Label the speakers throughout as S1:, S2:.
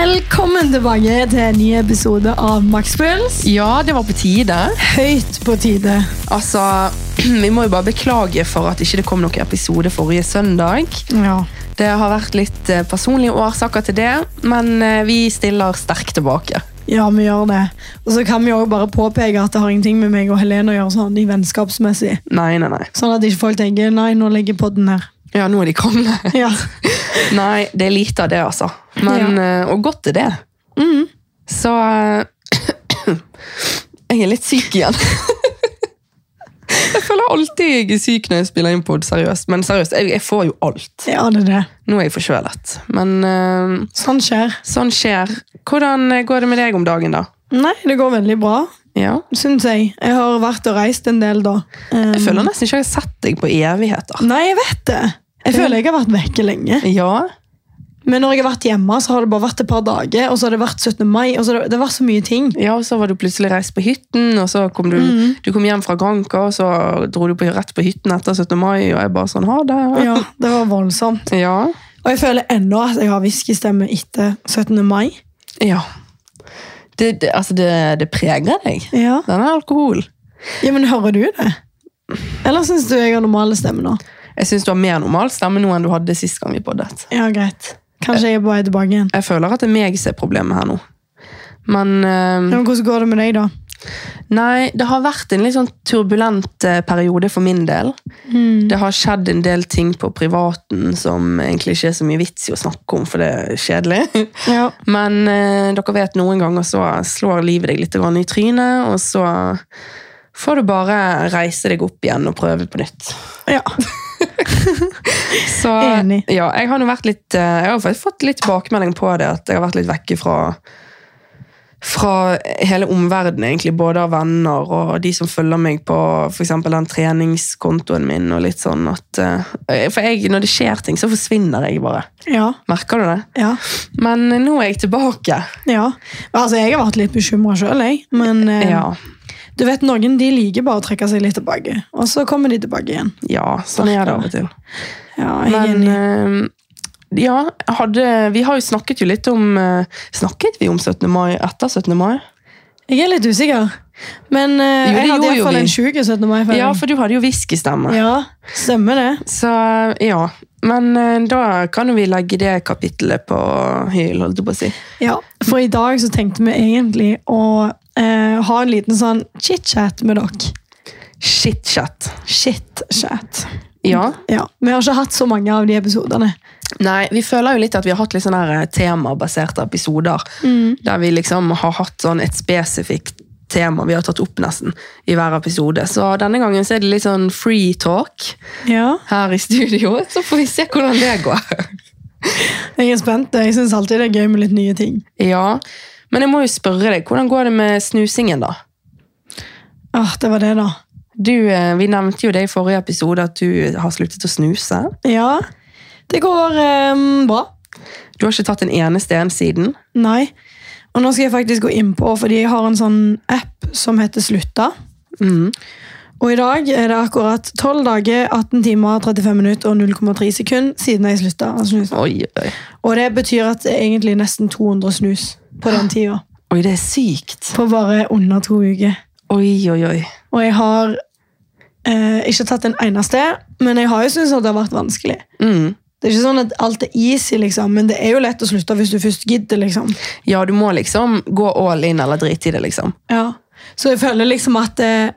S1: Velkommen tilbake til en ny episode av Makspuls.
S2: Ja, det var på tide.
S1: Høyt på tide.
S2: Altså, vi må jo bare beklage for at ikke det kom noen episode forrige søndag.
S1: Ja.
S2: Det har vært litt eh, personlige årsaker til det, men eh, vi stiller sterkt tilbake.
S1: ja, vi gjør det. Og så kan vi også bare påpeke at det har ingenting med meg og Helene å gjøre sånn i vennskapsmessig.
S2: Nei, nei, nei.
S1: Sånn at ikke folk tenker nei, nå legger podden her.
S2: Ja, nå er de kommet.
S1: Ja.
S2: nei, det er lite av det, altså. Men, eh, Og godt er det. Mm. Så eh, Jeg er litt syk igjen. jeg føler alltid jeg er syk når jeg spiller inn pod, seriøst. Men seriøst, jeg, jeg får jo alt.
S1: ja, det er det.
S2: Nå er jeg forkjølet. Men eh,
S1: Sånn skjer.
S2: Sånn skjer. Hvordan eh, går det med deg om dagen, da?
S1: Nei, det går veldig bra,
S2: Ja.
S1: syns jeg. Jeg har vært og reist en del, da. Um,
S2: Jeg føler nesten ikke jeg har sett deg på evigheter.
S1: Nei, jeg vet det. Jeg føler jeg har vært vekke lenge.
S2: Ja.
S1: Men når jeg har vært hjemme, så har det bare vært et par dager, og så har det vært 17. mai, og så har det, det har vært så mye ting.
S2: ja, og så var du plutselig reist på hytten, og så kom du, du kom hjem fra Granca, og så dro du på, rett på hytten etter 17. mai, og jeg bare sånn, ha det.
S1: Ja, det var voldsomt.
S2: Ja.
S1: Og jeg føler ennå at jeg har whiskystemme etter 17. mai.
S2: Ja. Det, det, altså, det, det preger deg.
S1: Ja.
S2: Denne alkohol.
S1: ja, men hører du det? Eller syns du jeg har normale stemme nå?
S2: Jeg synes du har mer normal stemme nå enn du hadde sist gang vi poddet.
S1: Ja, greit. Kanskje jeg er på vei tilbake igjen.
S2: Jeg føler at det er meg som er problemet her nå. Men... eh,
S1: Ja, men hvordan går det med deg, da?
S2: Nei, det har vært en litt sånn turbulent eh, periode for min del. Det har skjedd en del ting på privaten som egentlig ikke er så mye vits i å snakke om, for det er kjedelig.
S1: Ja.
S2: Men eh, dere vet, noen ganger så slår livet deg litt grann i trynet, og så får du bare reise deg opp igjen og prøve på nytt.
S1: ja.
S2: Så,
S1: Enig.
S2: Ja, jeg har nå vært litt eh, Jeg har faktisk fått litt tilbakemelding på det, at jeg har vært litt vekke fra fra hele omverdenen, egentlig, både av venner og de som følger meg på for eksempel den treningskontoen min. og litt sånn at, eh, For jeg, når det skjer ting, så forsvinner jeg bare.
S1: Ja.
S2: Merker du det?
S1: Ja.
S2: Men nå er jeg tilbake.
S1: ja. Altså, jeg har vært litt bekymra sjøl, jeg. Men eh,
S2: Ja,
S1: du vet, noen de liker bare å trekke seg litt tilbake, og så kommer de tilbake igjen.
S2: ja sånn er det av og til.
S1: Ja, jeg er
S2: Men
S1: enig.
S2: eh, ja, jeg hadde, vi har jo snakket jo litt om eh, Snakket vi om 17. mai etter 17. mai?
S1: Jeg er litt usikker. Men eh,
S2: Jo, det
S1: jeg hadde
S2: gjorde jo
S1: iallfall
S2: vi.
S1: en sjuk 17. mai-feiring.
S2: Ja, for du hadde jo whiskystemme.
S1: ja, stemmer det.
S2: Så ja. Men eh, da kan jo vi legge det kapittelet på hyl, holdt jeg på å si.
S1: Ja, for i dag så tenkte vi egentlig å eh, ha en liten sånn chit-chat med dere.
S2: Shit-chat.
S1: Shit-chat.
S2: Ja.
S1: Ja, Vi har ikke hatt så mange av de episodene.
S2: Nei, vi føler jo litt at vi har hatt litt sånne her temabaserte episoder. Der vi liksom har hatt sånn et spesifikt tema vi har tatt opp nesten i hver episode. Så denne gangen så er det litt sånn free talk
S1: Ja,
S2: her i studio. Så får vi se hvordan det går.
S1: Jeg er spent. Jeg syns alltid det er gøy med litt nye ting.
S2: Ja. Men jeg må jo spørre deg, hvordan går det med snusingen, da?
S1: Åh, Det var det, da.
S2: Du, eh, vi nevnte jo det i forrige episode at du har sluttet å snuse.
S1: Ja, det går eh, bra.
S2: Du har ikke tatt en eneste en siden.
S1: Nei. Og nå skal jeg faktisk gå innpå, fordi jeg har en sånn app som heter Slutta.
S2: Mm.
S1: Og i dag er det akkurat 12 dager, 18 timer, 35 minutter og 0,3 sekunder siden jeg slutta å snuse.
S2: Oi, oi.
S1: Og det betyr at det er egentlig nesten 200 snus på den tida.
S2: Oi, det er sykt.
S1: På bare under to uker.
S2: Oi, oi, oi.
S1: Og jeg har eh, ikke tatt en eneste, men jeg har jo syntes at det har vært vanskelig.
S2: Mm.
S1: Det er ikke sånn at alt er easy, liksom, men det er jo lett å slutte hvis du først gidder. liksom.
S2: Ja, du må liksom gå all in eller drite i det, liksom.
S1: Ja. Så jeg føler liksom at eh,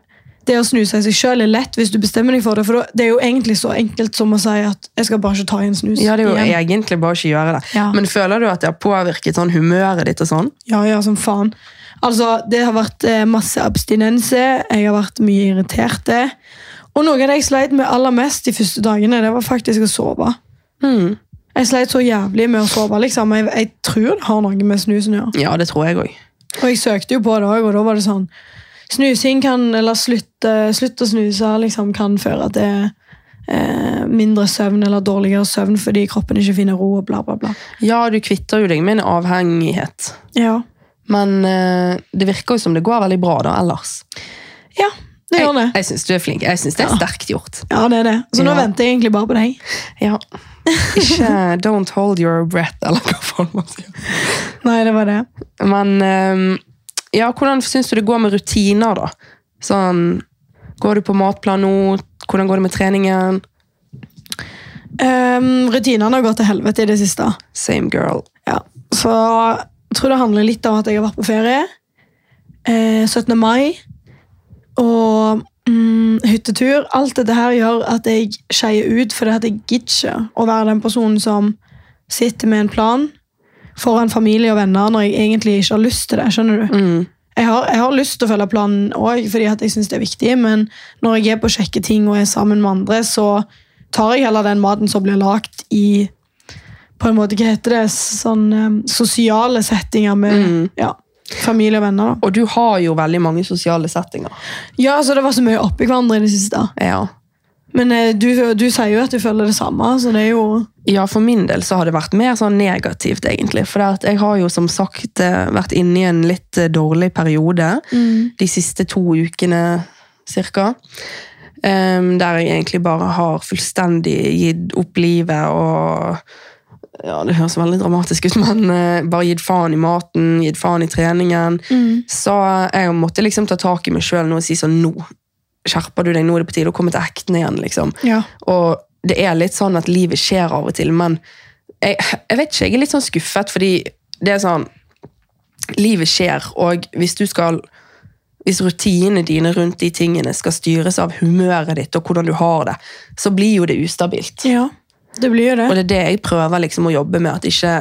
S1: det å snuse i seg sjøl er lett hvis du bestemmer deg for det. For da- det er jo egentlig så enkelt som å si at jeg skal bare ikke ta en snus.
S2: Ja, det er jo
S1: igjen.
S2: egentlig bare å ikke gjøre det.
S1: Ja.
S2: Men føler du at det har påvirket sånn humøret ditt og sånn?
S1: Ja, ja, som faen. Altså, det har vært eh, masse abstinense, jeg har vært mye irriterte. Og noe av det jeg sleit med aller mest de første dagene, det var faktisk å sove.
S2: Mm.
S1: Jeg sleit så jævlig med å sove, liksom. Jeg, jeg tror det har noe med snusen å gjøre.
S2: Ja, det tror jeg òg.
S1: Og jeg søkte jo på det òg, og da var det sånn Snusing kan, eller slutte, slutt å snuse, liksom, kan føre til eh, mindre søvn eller dårligere søvn fordi kroppen ikke finner ro og bla, bla, bla.
S2: Ja, du kvitter jo deg med en avhengighet.
S1: Ja.
S2: Men eh, det virker jo som det går veldig bra da, ellers.
S1: Ja, det gjør det.
S2: Jeg, jeg syns du er flink. Jeg syns det er sterkt gjort.
S1: Ja, det er det. Så nå
S2: Ja.
S1: venter jeg egentlig bare på deg.
S2: Ja. Ikke 'don't hold your breath', eller hva faen man sier.
S1: Nei, det var det.
S2: Men ehm, ja, hvordan syns du det går med rutiner, da? Sånn, Går du på matplan nå? Hvordan går det med treningen?
S1: Um, rutinene har gått til helvete i det siste.
S2: Same girl.
S1: Ja. Så jeg tror det handler litt om at jeg har vært på ferie. Eh, 17. mai og mm, hyttetur. Alt dette her gjør at jeg skeier ut, fordi at jeg gidder ikke å være den personen som sitter med en plan foran familie og venner når jeg egentlig ikke har lyst til det. skjønner du?
S2: Mm.
S1: Jeg har, jeg har lyst til å følge planen òg, fordi at jeg syns det er viktig, men når jeg er på å sjekke ting og er sammen med andre, så tar jeg heller den maten som blir lagt i på en måte, hva heter det, sånn eh, sosiale settinger med
S2: Mm.
S1: ja, familie og venner. da.
S2: Og du har jo veldig mange sosiale settinger.
S1: Ja, altså Det var så mye oppi hverandre i det siste.
S2: Ja.
S1: Men eh, du, du sier jo at du føler det samme, så det er jo
S2: Ja, for min del så har det vært mer sånn negativt, egentlig. For det at jeg har jo som sagt eh, vært inne i en litt eh, dårlig periode de siste to ukene cirka. Em, der jeg egentlig bare har fullstendig gitt opp livet og Ja, det høres veldig dramatisk ut, men eh, bare gitt faen i maten, gitt faen i treningen. Så jeg måtte liksom ta tak i meg sjøl og si sånn Nå skjerper du deg, nå er det på tide å komme til ekten igjen, liksom.
S1: Ja.
S2: Og det er litt sånn at livet skjer av og til, men jeg, jeg vet ikke, jeg er litt sånn skuffet, fordi det er sånn Livet skjer, og hvis du skal hvis rutinene dine rundt de tingene skal styres av humøret ditt og hvordan du har det, så blir jo det ustabilt.
S1: ja. Det blir jo det.
S2: Og det er det jeg prøver liksom å jobbe med, at ikke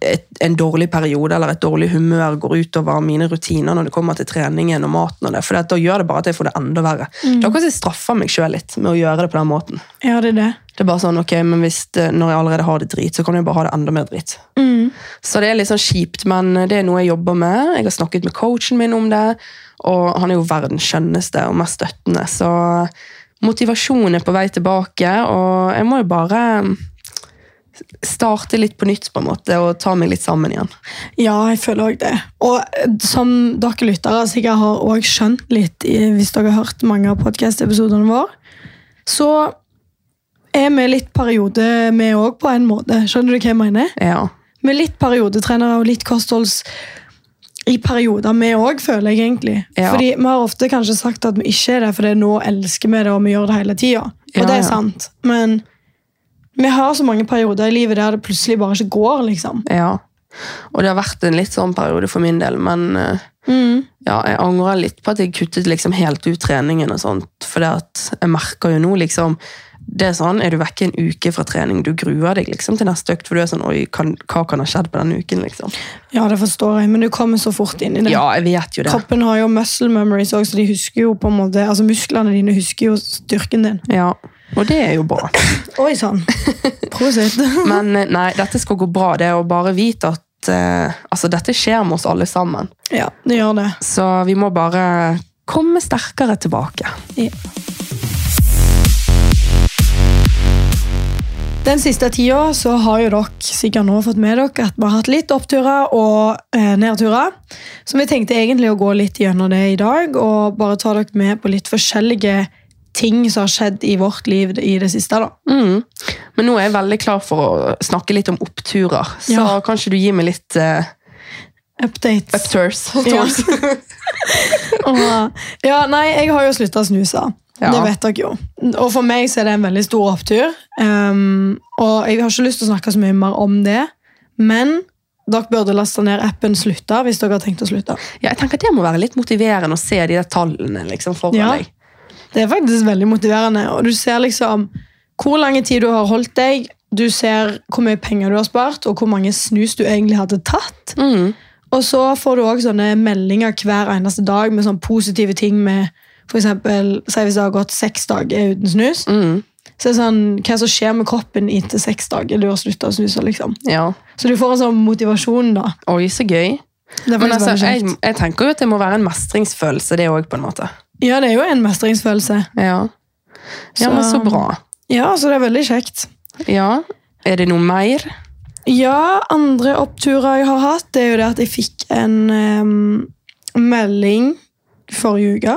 S2: et, en dårlig periode eller et dårlig humør går utover mine rutiner når det kommer til treningen og maten og det, for da gjør det bare at jeg får det enda verre. Da kanskje jeg straffer meg sjøl litt med å gjøre det på den måten.
S1: Ja, det er det.
S2: Det er bare sånn, ok, men hvis det, Når jeg allerede har det drit, så kan jeg bare ha det enda mer drit.
S1: Mm.
S2: Så det er litt sånn kjipt, men det er noe jeg jobber med. Jeg har snakket med coachen min om det, og han er jo verdens skjønneste og mest støttende. Så motivasjonen er på vei tilbake, og jeg må jo bare starte litt på nytt på en måte, og ta meg litt sammen igjen.
S1: Ja, jeg føler òg det. Og eh, som dere lyttere sikkert har også skjønt litt, i- hvis dere har hørt mange av podkast-episodene våre, så er vi litt periode, vi òg, på en måte. Skjønner du hva jeg mener?
S2: Ja,
S1: Vi er litt periodetrenere og litt kostholds i perioder, vi òg, føler jeg egentlig.
S2: Ja.
S1: Fordi Vi har ofte kanskje sagt at vi ikke er det, fordi nå elsker vi det og vi gjør det hele tida. Og
S2: Ja,
S1: det
S2: ja.
S1: er sant, men vi har så mange perioder i livet der det plutselig bare ikke går, liksom.
S2: ja. Og det har vært en litt sånn periode for min del, men eh,
S1: Mm.
S2: ja, jeg angrer litt på at jeg kuttet liksom helt ut treningen og sånt, for det at jeg merker jo nå liksom, det er sånn, er du vekke en uke fra trening, du gruer deg liksom til neste økt, for du er sånn, oi, kan, hva kan ha skjedd på denne uken liksom?
S1: Ja, det forstår jeg, men du kommer så fort inn i det.
S2: Ja, jeg vet jo det.
S1: Kroppen har jo muscle memories også, så de husker jo på en måte, altså musklene dine husker jo styrken din.
S2: Ja, og det er jo bra.
S1: Oi sann! Prosit.
S2: Men eh, nei, dette skal gå bra, det er å bare vite at eh, altså, dette skjer med oss alle sammen,
S1: ja, det gjør det.
S2: så vi må bare komme sterkere tilbake.
S1: Den siste tida så har jo dere sikkert nå fått med dere at vi har hatt litt oppturer og eh, nedturer. Så vi tenkte egentlig å gå litt gjennom det i dag og bare ta dere med på litt forskjellige ting som har skjedd i vårt liv i det siste. da.
S2: Mm. Men nå er jeg veldig klar for å snakke litt om oppturer, så
S1: Ja.
S2: kanskje du gir meg litt eh,
S1: Updates.
S2: upturs.
S1: Ja. Og, ja, nei, jeg har jo slutta å snuse.
S2: Ja.
S1: Det vet dere jo. Og for meg så er det en veldig stor opptur. Ehm, og jeg har ikke lyst til å snakke så mye mer om det, men dere burde laste ned appen Slutta hvis dere har tenkt å slutte.
S2: Ja, jeg tenker Det må være litt motiverende å se de der tallene liksom, foran
S1: Ja.
S2: deg.
S1: Det er faktisk veldig motiverende. Og du ser liksom hvor lang tid du har holdt deg, du ser hvor mye penger du har spart, og hvor mange snus du egentlig hadde tatt.
S2: Mm.
S1: Og så får du også sånne meldinger hver eneste dag med sånne positive ting med for eksempel, si hvis det har gått seks dager uten snus,
S2: Mm.
S1: så er det sånn, hva som skjer med kroppen etter seks dager du har sluttet å snuse, liksom.
S2: Ja.
S1: Så du får en sånn motivasjon da.
S2: Oi, så gøy.
S1: Det er
S2: Men
S1: faktisk
S2: altså,
S1: veldig
S2: jeg,
S1: kjekt.
S2: jeg tenker jo at det må være en mestringsfølelse, det òg, på en måte.
S1: Ja, det er jo en mestringsfølelse.
S2: Ja. ja,
S1: Så-
S2: men så bra.
S1: Ja, så det er veldig kjekt.
S2: Ja. Er det noe mer?
S1: Ja, andre oppturer jeg har hatt, det er jo det at jeg fikk en em, melding forrige uke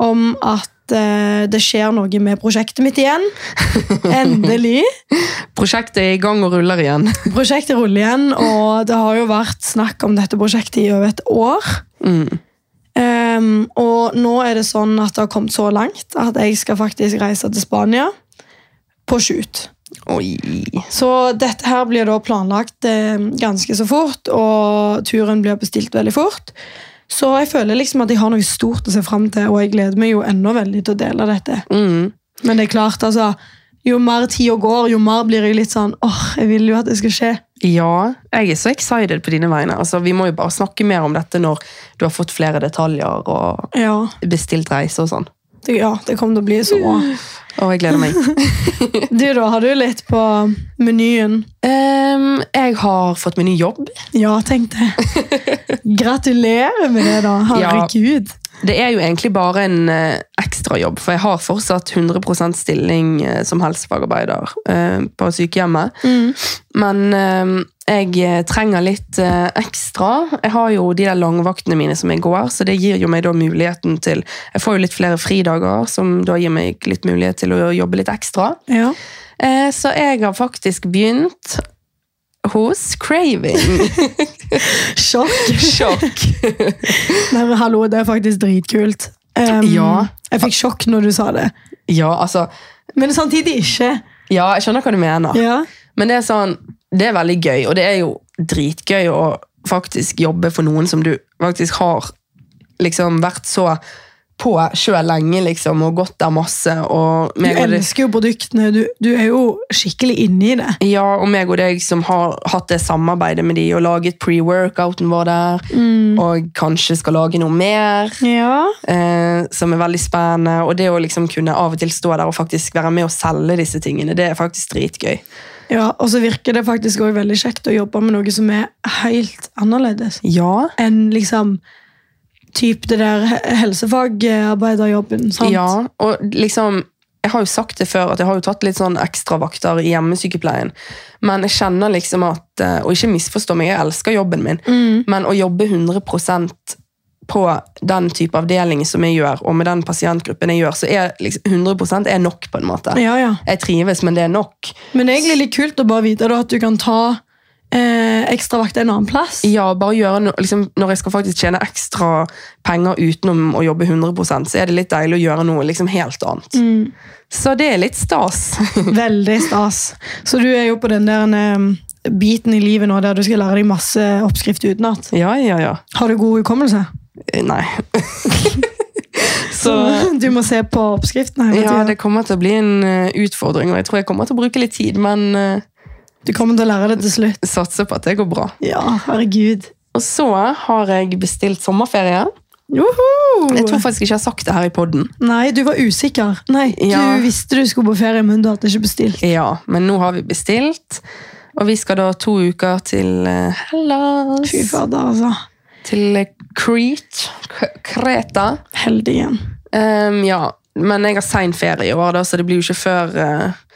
S1: om at at eh, det skjer noe med prosjektet mitt igjen. Endelig.
S2: Prosjektet er i gang og ruller igjen.
S1: Prosjektet ruller igjen, og det har jo vært snakk om dette prosjektet i over et år.
S2: Mm.
S1: Ehm, og nå er det sånn at det har kommet så langt at jeg skal faktisk reise til Spania på shoot.
S2: Oi.
S1: Så dette her blir da planlagt eh, ganske så fort, og turen blir bestilt veldig fort. Så jeg føler liksom at jeg har noe stort å se fram til, og jeg gleder meg jo ennå veldig til å dele dette.
S2: Mm.
S1: Men det er klart, altså, jo mer tida går, jo mer blir jeg litt sånn åh, jeg vil jo at det skal skje.
S2: Ja, jeg er så excited på dine vegne. Altså, vi må jo bare snakke mer om dette når du har fått flere detaljer og
S1: Ja,
S2: bestilt reise og sånn.
S1: det, ja, det kommer til å bli så bra.
S2: Og jeg gleder meg.
S1: Du da, har du litt på menyen?
S2: Ehm, jeg har fått meg ny jobb.
S1: Ja, tenk det. Gratulerer med det, da. Herregud.
S2: Det er jo egentlig bare en eh, ekstra ekstrajobb, for jeg har fortsatt 100 stilling eh, som helsefagarbeider eh, på sykehjemmet.
S1: Mm.
S2: Men eh, jeg eh, trenger litt eh, ekstra. Jeg har jo de der langvaktene mine som jeg går, så det gir jo meg da muligheten til Jeg får jo litt flere fridager, som da gir meg litt mulighet til å jobbe litt ekstra.
S1: Ja.
S2: Eh, så jeg har faktisk begynt hos Craving.
S1: Sjokk.
S2: Sjokk!
S1: Nei, men hallo, det er faktisk dritkult. Um,
S2: Ja.
S1: Jeg fikk sjokk når du sa det.
S2: Ja, altså
S1: Men samtidig ikke.
S2: Ja, jeg skjønner hva du mener.
S1: Ja.
S2: Men det er sånn, det er veldig gøy, og det er jo dritgøy å faktisk jobbe for noen som du faktisk har liksom vært så på sjøl lenge, liksom, og gått der masse. Og
S1: Du
S2: meg og deg,
S1: elsker jo produktene. Du, du er jo skikkelig inni det.
S2: ja, og meg og deg som har hatt det samarbeidet med de, og laget pre-workouten vår der,
S1: Mm.
S2: og kanskje skal lage noe mer.
S1: Ja.
S2: Eh, som er veldig spennende, og det å liksom kunne av og til stå der og faktisk være med og selge disse tingene, det er faktisk dritgøy.
S1: Og så virker det faktisk også veldig kjekt å jobbe med noe som er helt annerledes
S2: Ja,
S1: enn liksom typ det der he- helsefagarbeiderjobben. sant?
S2: Ja, og liksom Jeg har jo sagt det før, at jeg har jo tatt litt sånn ekstravakter i hjemmesykepleien. Men jeg kjenner liksom at eh, Og ikke misforstå meg, jeg elsker jobben min,
S1: Mm.
S2: men å jobbe 100 på den type avdeling som jeg gjør, og med den pasientgruppen jeg gjør, så er liksom 100 er nok, på en måte.
S1: ja, ja.
S2: Jeg trives, men det er nok.
S1: Men det er egentlig litt kult å bare vite da, at du kan ta eh, ekstravakt en annen plass.
S2: Ja, bare gjøre no, liksom, Når jeg skal faktisk tjene ekstra penger utenom å jobbe 100 så er det litt deilig å gjøre noe liksom helt annet.
S1: Mm.
S2: Så det er litt stas.
S1: Veldig stas. Så du er jo på den der em, biten i livet nå der du skal lære deg masse oppskrift utenat.
S2: ja, ja, ja.
S1: Har du god hukommelse?
S2: Eh, Nei.
S1: Så
S2: Så
S1: du må se på oppskriftene hele
S2: ja,
S1: tiden.
S2: det kommer til å bli en eh, utfordring, og jeg tror jeg kommer til å bruke litt tid, men eh,
S1: Du kommer til å lære det til slutt.
S2: satser på at det går bra.
S1: Ja, herregud.
S2: Og så har jeg bestilt sommerferie.
S1: Joho!
S2: Jeg tror faktisk ikke jeg har sagt det her i podden.
S1: Nei, du var usikker. Nei,
S2: Ja.
S1: Du visste du skulle på ferie, men du hadde ikke bestilt.
S2: Ja, men nå har vi bestilt, og vi skal da to uker til eh, Hellas.
S1: Fy fader, altså.
S2: Til eh, Crete. K Kreta.
S1: Heldig igjen.
S2: Ehm, ja, men jeg har sein ferie i år, da, så det blir jo ikke før eh,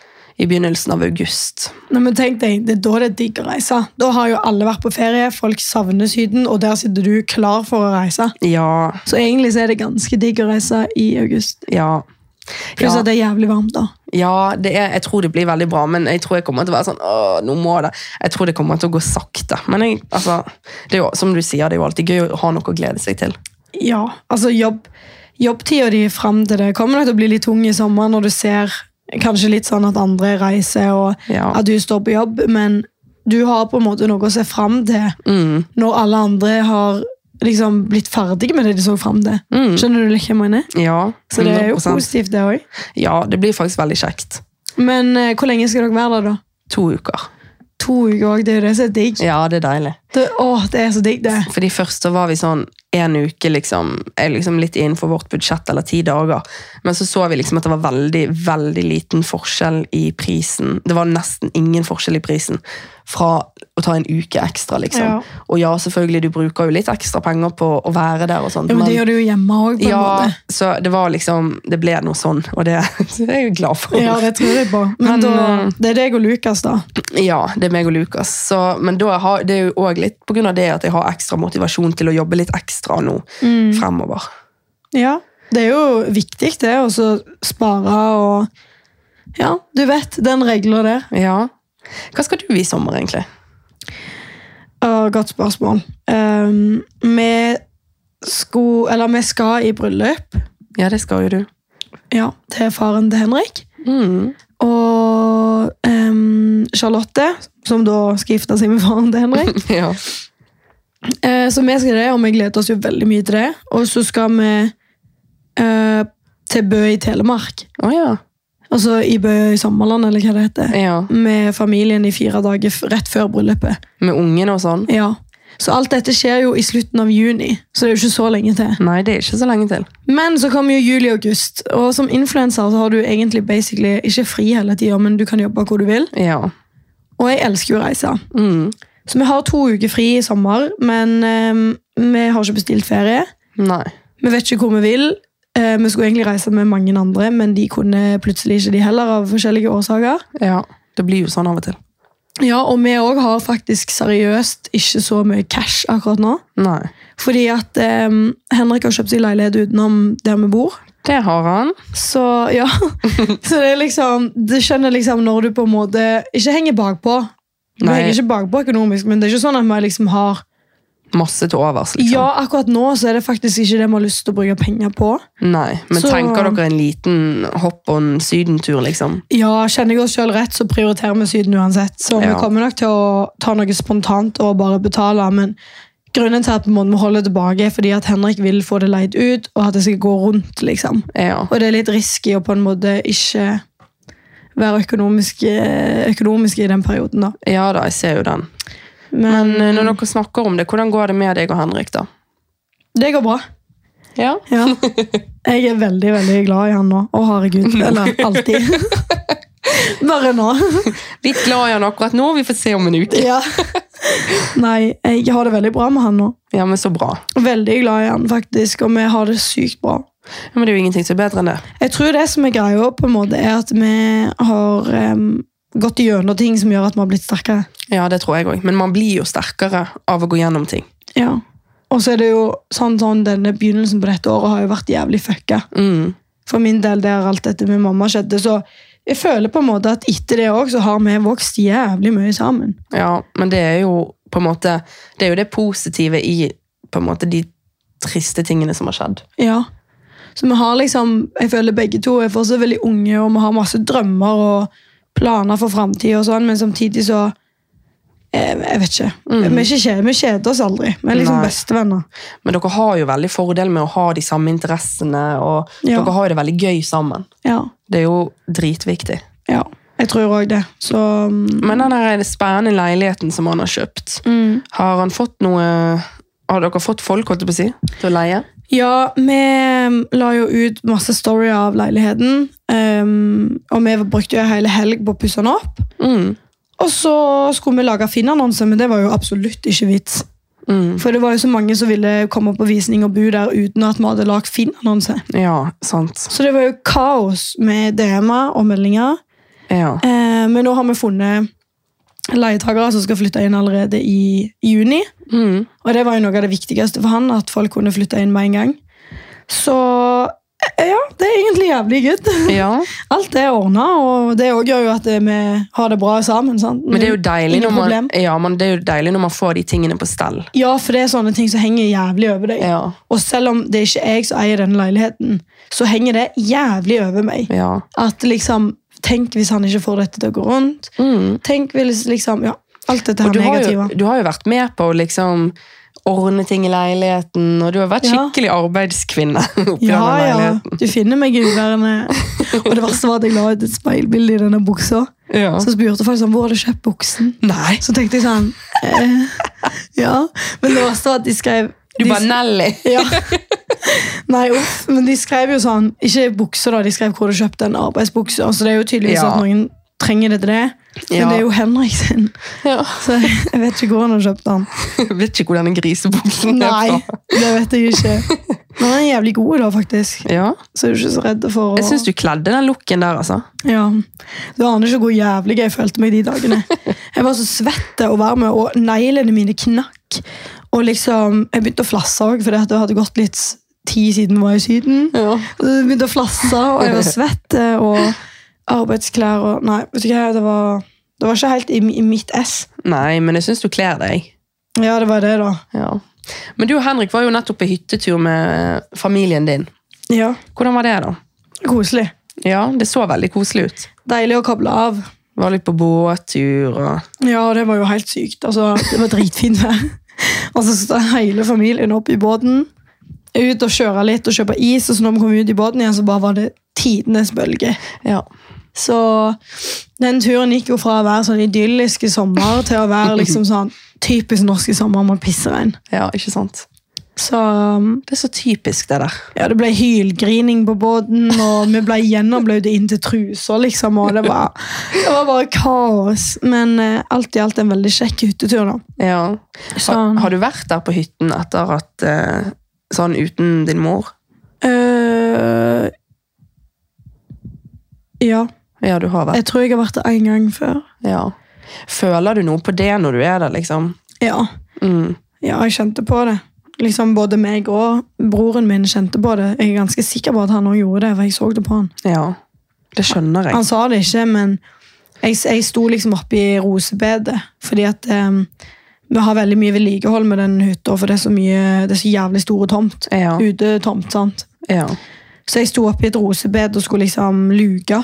S2: i begynnelsen av august.
S1: Nei, men tenk deg, Det er da det er digg å reise. Da har jo alle vært på ferie, folk savner Syden, og der sitter du klar for å reise.
S2: Ja,
S1: Så egentlig så er det ganske digg å reise i august.
S2: ja.
S1: Pluss
S2: Ja.
S1: at det er jævlig varmt, da.
S2: Ja, det er, jeg tror det blir veldig bra, men jeg tror jeg kommer til å være sånn Åh, nå må det. Jeg tror det kommer til å gå sakte. Men jeg, altså, det er jo, som du sier, det er jo alltid gøy å ha noe å glede seg til.
S1: Ja, altså jobb, jobbtida di fram til det kommer nok til å bli litt tung i sommer når du ser kanskje litt sånn at andre reiser og
S2: Ja.
S1: at du står på jobb, men du har på en måte noe å se fram til
S2: Mm,
S1: når alle andre har liksom blitt ferdige med det de så fram til.
S2: mm,
S1: Skjønner du litt hva jeg mener?
S2: ja,
S1: Så det er jo
S2: 100%.
S1: positivt, det òg.
S2: Ja, det blir faktisk veldig kjekt.
S1: Men eh, hvor lenge skal dere være der, da?
S2: To uker.
S1: To uker òg, det er jo det som er digg.
S2: Ja, det er deilig.
S1: Det, åh, det er så digg, det.
S2: Fordi først så var vi sånn en uke liksom, er liksom litt innenfor vårt budsjett, eller ti dager. Men så så vi liksom at det var veldig, veldig liten forskjell i prisen. Det var nesten ingen forskjell i prisen fra å ta en uke ekstra, liksom.
S1: Ja.
S2: Og ja, selvfølgelig, du bruker jo litt ekstra penger på å være der og sånt.
S1: Jo, men det
S2: men-
S1: gjør du jo hjemme òg, på en
S2: ja,
S1: måte.
S2: så det var liksom Det ble noe sånn, og det, det er jeg jo glad for.
S1: Ja, det tror jeg på. Men,
S2: Men,
S1: da,
S2: eh,
S1: det er deg og Lukas, da.
S2: Ja, det er meg og Lukas. Så, men da har, det er jo òg litt
S1: Mm.
S2: på grunn av det at jeg har ekstra motivasjon til å jobbe litt ekstra nå fremover.
S1: Ja, Det er jo viktig, det, å så spare og Ja, du vet, den regler der.
S2: Ja. Hva skal du i sommer, egentlig?
S1: Å, godt spørsmål. Ehm, vi skulle Eller vi skal i bryllup.
S2: Ja, det skal jo du.
S1: Ja, til faren til Henrik.
S2: Mm.
S1: Og ehm, Charlotte, som da skal gifte seg med faren til Henrik.
S2: Ja.
S1: Eh, så vi skal det, og vi gleder oss jo veldig mye til det. Og så skal vi eh, til Bø i Telemark.
S2: Å ja.
S1: Altså i Bø i Sommerland, eller hva det heter.
S2: ja.
S1: Med familien i fire dager f- rett før bryllupet.
S2: Med ungene og sånn?
S1: Ja. Så alt dette skjer jo i slutten av juni, så det er jo ikke så lenge til.
S2: Nei, det er ikke så lenge til.
S1: Men så kommer jo juli og august, og som influenser så har du egentlig basically ikke fri hele tida, men du kan jobbe hvor du vil.
S2: Ja.
S1: Og jeg elsker jo å reise.
S2: Mm.
S1: Så vi har to uker fri i sommer, men eh, vi har ikke bestilt ferie.
S2: Nei.
S1: Vi vet ikke hvor vi vil. Eh, vi skulle egentlig reise med mange andre, men de kunne plutselig ikke de heller av forskjellige årsaker.
S2: Ja. Det blir jo sånn av og til.
S1: Ja, og vi òg har faktisk seriøst ikke så mye cash akkurat nå.
S2: Nei.
S1: Fordi at eh, Henrik har kjøpt seg leilighet utenom der vi bor.
S2: Det har han.
S1: Så ja, så det er liksom Du skjønner liksom når du på en måte ikke henger bakpå. Du
S2: Nei.
S1: henger ikke bakpå økonomisk, men det er ikke sånn at vi liksom har
S2: Masse til overs, liksom.
S1: Ja, akkurat nå så er det faktisk ikke det vi har lyst til å bruke penger på.
S2: Nei. Men
S1: Så-
S2: tenker dere en liten hopp og en sydentur, liksom?
S1: Ja, kjenner jeg oss sjøl rett, så prioriterer vi Syden uansett. Så vi
S2: Ja.
S1: kommer nok til å ta noe spontant og bare betale, men grunnen til at vi må holde tilbake, er fordi at Henrik vil få det leid ut, og at det skal gå rundt, liksom.
S2: Ja.
S1: Og det er litt risky å på en måte ikke være økonomisk, eh, økonomisk i den perioden, da.
S2: ja da, jeg ser jo den.
S1: Men,
S2: Men eh, når dere snakker om det, hvordan går det med deg og Henrik, da?
S1: det går bra.
S2: Ja.
S1: Ja. Jeg er veldig veldig glad i han nå. Å, herregud. Eller alltid. Bare nå.
S2: Litt glad i han akkurat nå. Vi får se om en uke.
S1: Ja. Nei, jeg har det veldig bra med han nå.
S2: Ja, men så bra.
S1: Veldig glad i han, faktisk. Og vi har det sykt bra.
S2: Ja, Men det er jo ingenting som er bedre enn det.
S1: Jeg tror det som er greia, på en måte, er at vi har em, gått gjennom ting som gjør at vi har blitt sterkere.
S2: Ja, det tror jeg òg. Men man blir jo sterkere av å gå gjennom ting.
S1: Ja. Og så er det jo sånn, sånn denne begynnelsen på dette året har jo vært jævlig fucka.
S2: Mm.
S1: For min del der alt dette med mamma skjedde, så jeg føler på en måte at etter det òg, så har vi vokst jævlig mye sammen.
S2: Ja, men det er jo på en måte Det er jo det positive i på en måte de triste tingene som har skjedd.
S1: Ja. Så vi har liksom, jeg føler begge to er fortsatt veldig unge, og vi har masse drømmer og planer for framtida og sånn, men samtidig så eh, Jeg vet ikke. Vi, er ikke kjede, vi kjeder oss aldri. Vi er liksom
S2: Nei.
S1: bestevenner.
S2: Men dere har jo veldig fordel med å ha de samme interessene, og
S1: Ja.
S2: dere har jo det veldig gøy sammen.
S1: Ja.
S2: Det er jo dritviktig.
S1: ja. Jeg tror òg det. Så mm,
S2: Men den her spennende leiligheten som han har kjøpt,
S1: mm.
S2: har han fått noe Har dere fått folk holdt jeg på å si, til å leie?
S1: Ja, vi mm, la jo ut masse storyer av leiligheten. ehm, og vi brukte jo en hel helg på å pusse den opp.
S2: Mm.
S1: Og så skulle vi lage Finn-annonse, men det var jo absolutt ikke vits.
S2: Mm.
S1: For det var jo så mange som ville komme på visning og bo der uten at vi hadde lagd Finn-annonse.
S2: Ja, sant.
S1: Så det var jo kaos med DM-er og meldinger.
S2: Ja.
S1: Eh, men nå har vi funnet leietakere som skal flytte inn allerede i juni.
S2: Mm.
S1: Og det var jo noe av det viktigste for han, at folk kunne flytte inn med en gang. Så eh, ja, det er egentlig jævlig good.
S2: ja.
S1: Alt er ordna, og det også gjør jo at eh, vi har det bra sammen. sant?
S2: Men det er jo deilig
S1: Mm. Ingen
S2: når man,
S1: problem.
S2: ja, men det er jo deilig når man får de tingene på stell.
S1: Ja, for det er sånne ting som henger jævlig over deg.
S2: Ja.
S1: Og selv om det ikke er jeg som eier denne leiligheten, så henger det jævlig over meg.
S2: ja.
S1: At liksom, Tenk hvis han ikke får dette til å gå rundt.
S2: Mm.
S1: Tenk hvis liksom, ja, Alt dette her
S2: du har, jo,
S1: negative.
S2: du har jo vært med på å liksom ordne ting i leiligheten, og du har vært
S1: Ja.
S2: skikkelig arbeidskvinne. oppi
S1: Ja,
S2: denne
S1: ja.
S2: leiligheten.
S1: Du finner meg i uværene. Og det verste var at jeg la ut et speilbilde i denne buksa.
S2: Ja.
S1: Så spurte folk sånn, hvor har du kjøpt buksen.
S2: Nei.
S1: Så tenkte jeg sånn eh, Ja. Men det verste var at de skrev
S2: Du
S1: de-
S2: bare Nelly.
S1: Ja. Nei, uff, men de skrev jo sånn Ikke bukser, da. De skrev hvor du kjøpte en arbeidsbukse. Altså, det er jo tydeligvis
S2: Ja.
S1: at noen trenger det til det. Men
S2: Ja.
S1: det er jo Henrik sin,
S2: Ja.
S1: så jeg vet ikke hvor han har kjøpt den.
S2: Jeg vet ikke hvor denne grisebuksen
S1: Nei,
S2: er fra.
S1: det vet jeg ikke. Men han er jævlig god, da, faktisk.
S2: Ja.
S1: Så er du ikke så redd for å
S2: Jeg syns du kledde den looken der, altså.
S1: Ja. Du aner ikke hvor jævlig jeg følte meg de dagene. Jeg var så svett og varm, og neglene mine knakk. Og liksom, Jeg begynte å flasse òg, fordi at det hadde gått litt ti siden var jeg i Syden.
S2: Ja.
S1: Og det begynte å flasse, og jeg var svett, eh, og arbeidsklær og Nei, vet du hva, det var, det var ikke helt i, i mitt ess.
S2: Nei, men jeg syns du kler deg.
S1: Ja, det var det, da.
S2: Ja. Men du og Henrik var jo nettopp på hyttetur med familien din.
S1: Ja,
S2: Hvordan var det, da?
S1: Koselig.
S2: Ja, det så veldig koselig ut.
S1: Deilig å koble av.
S2: Var litt på båttur og
S1: Ja, det var jo helt sykt. Altså, det var dritfint vær. Og så står hele familien opp i båten, ut og kjører litt og kjøper is, og så når vi kom ut i båten igjen, så bare var det tidenes bølge.
S2: Ja.
S1: Så den turen gikk jo fra å være sånn idyllisk i sommer til å være liksom sånn typisk norsk i sommer med pisseregn.
S2: ja, ikke sant?
S1: Så um,
S2: Det er så typisk, det der.
S1: ja, det ble hylgrining på båten, og vi ble gjennomblødde inn til truser, liksom, og det var, det var bare kaos. Men eh, alt i alt en veldig kjekk hyttetur, da.
S2: Ja. Sånn.
S1: Så,
S2: Har, har du vært der på hytten etter at eh, Sånn uten din mor?
S1: øh, ja,
S2: Ja, du har vært.
S1: jeg tror jeg har vært der én gang før.
S2: Ja. Føler du noe på det når du er der, liksom?
S1: Ja.
S2: Mm.
S1: Ja, jeg kjente på det. Liksom Både meg og broren min kjente på det. Jeg er ganske sikker på at han også gjorde det, for jeg så det på han.
S2: Ja. Det skjønner jeg.
S1: Han sa det ikke, men jeg, jeg sto liksom oppi rosebedet, fordi at em, vi har veldig mye vedlikehold med den hytta, for det er så mye, det er så jævlig store tomt.
S2: Ja.
S1: Utetomt, sant.
S2: ja.
S1: Så jeg sto oppi et rosebed og skulle liksom luke.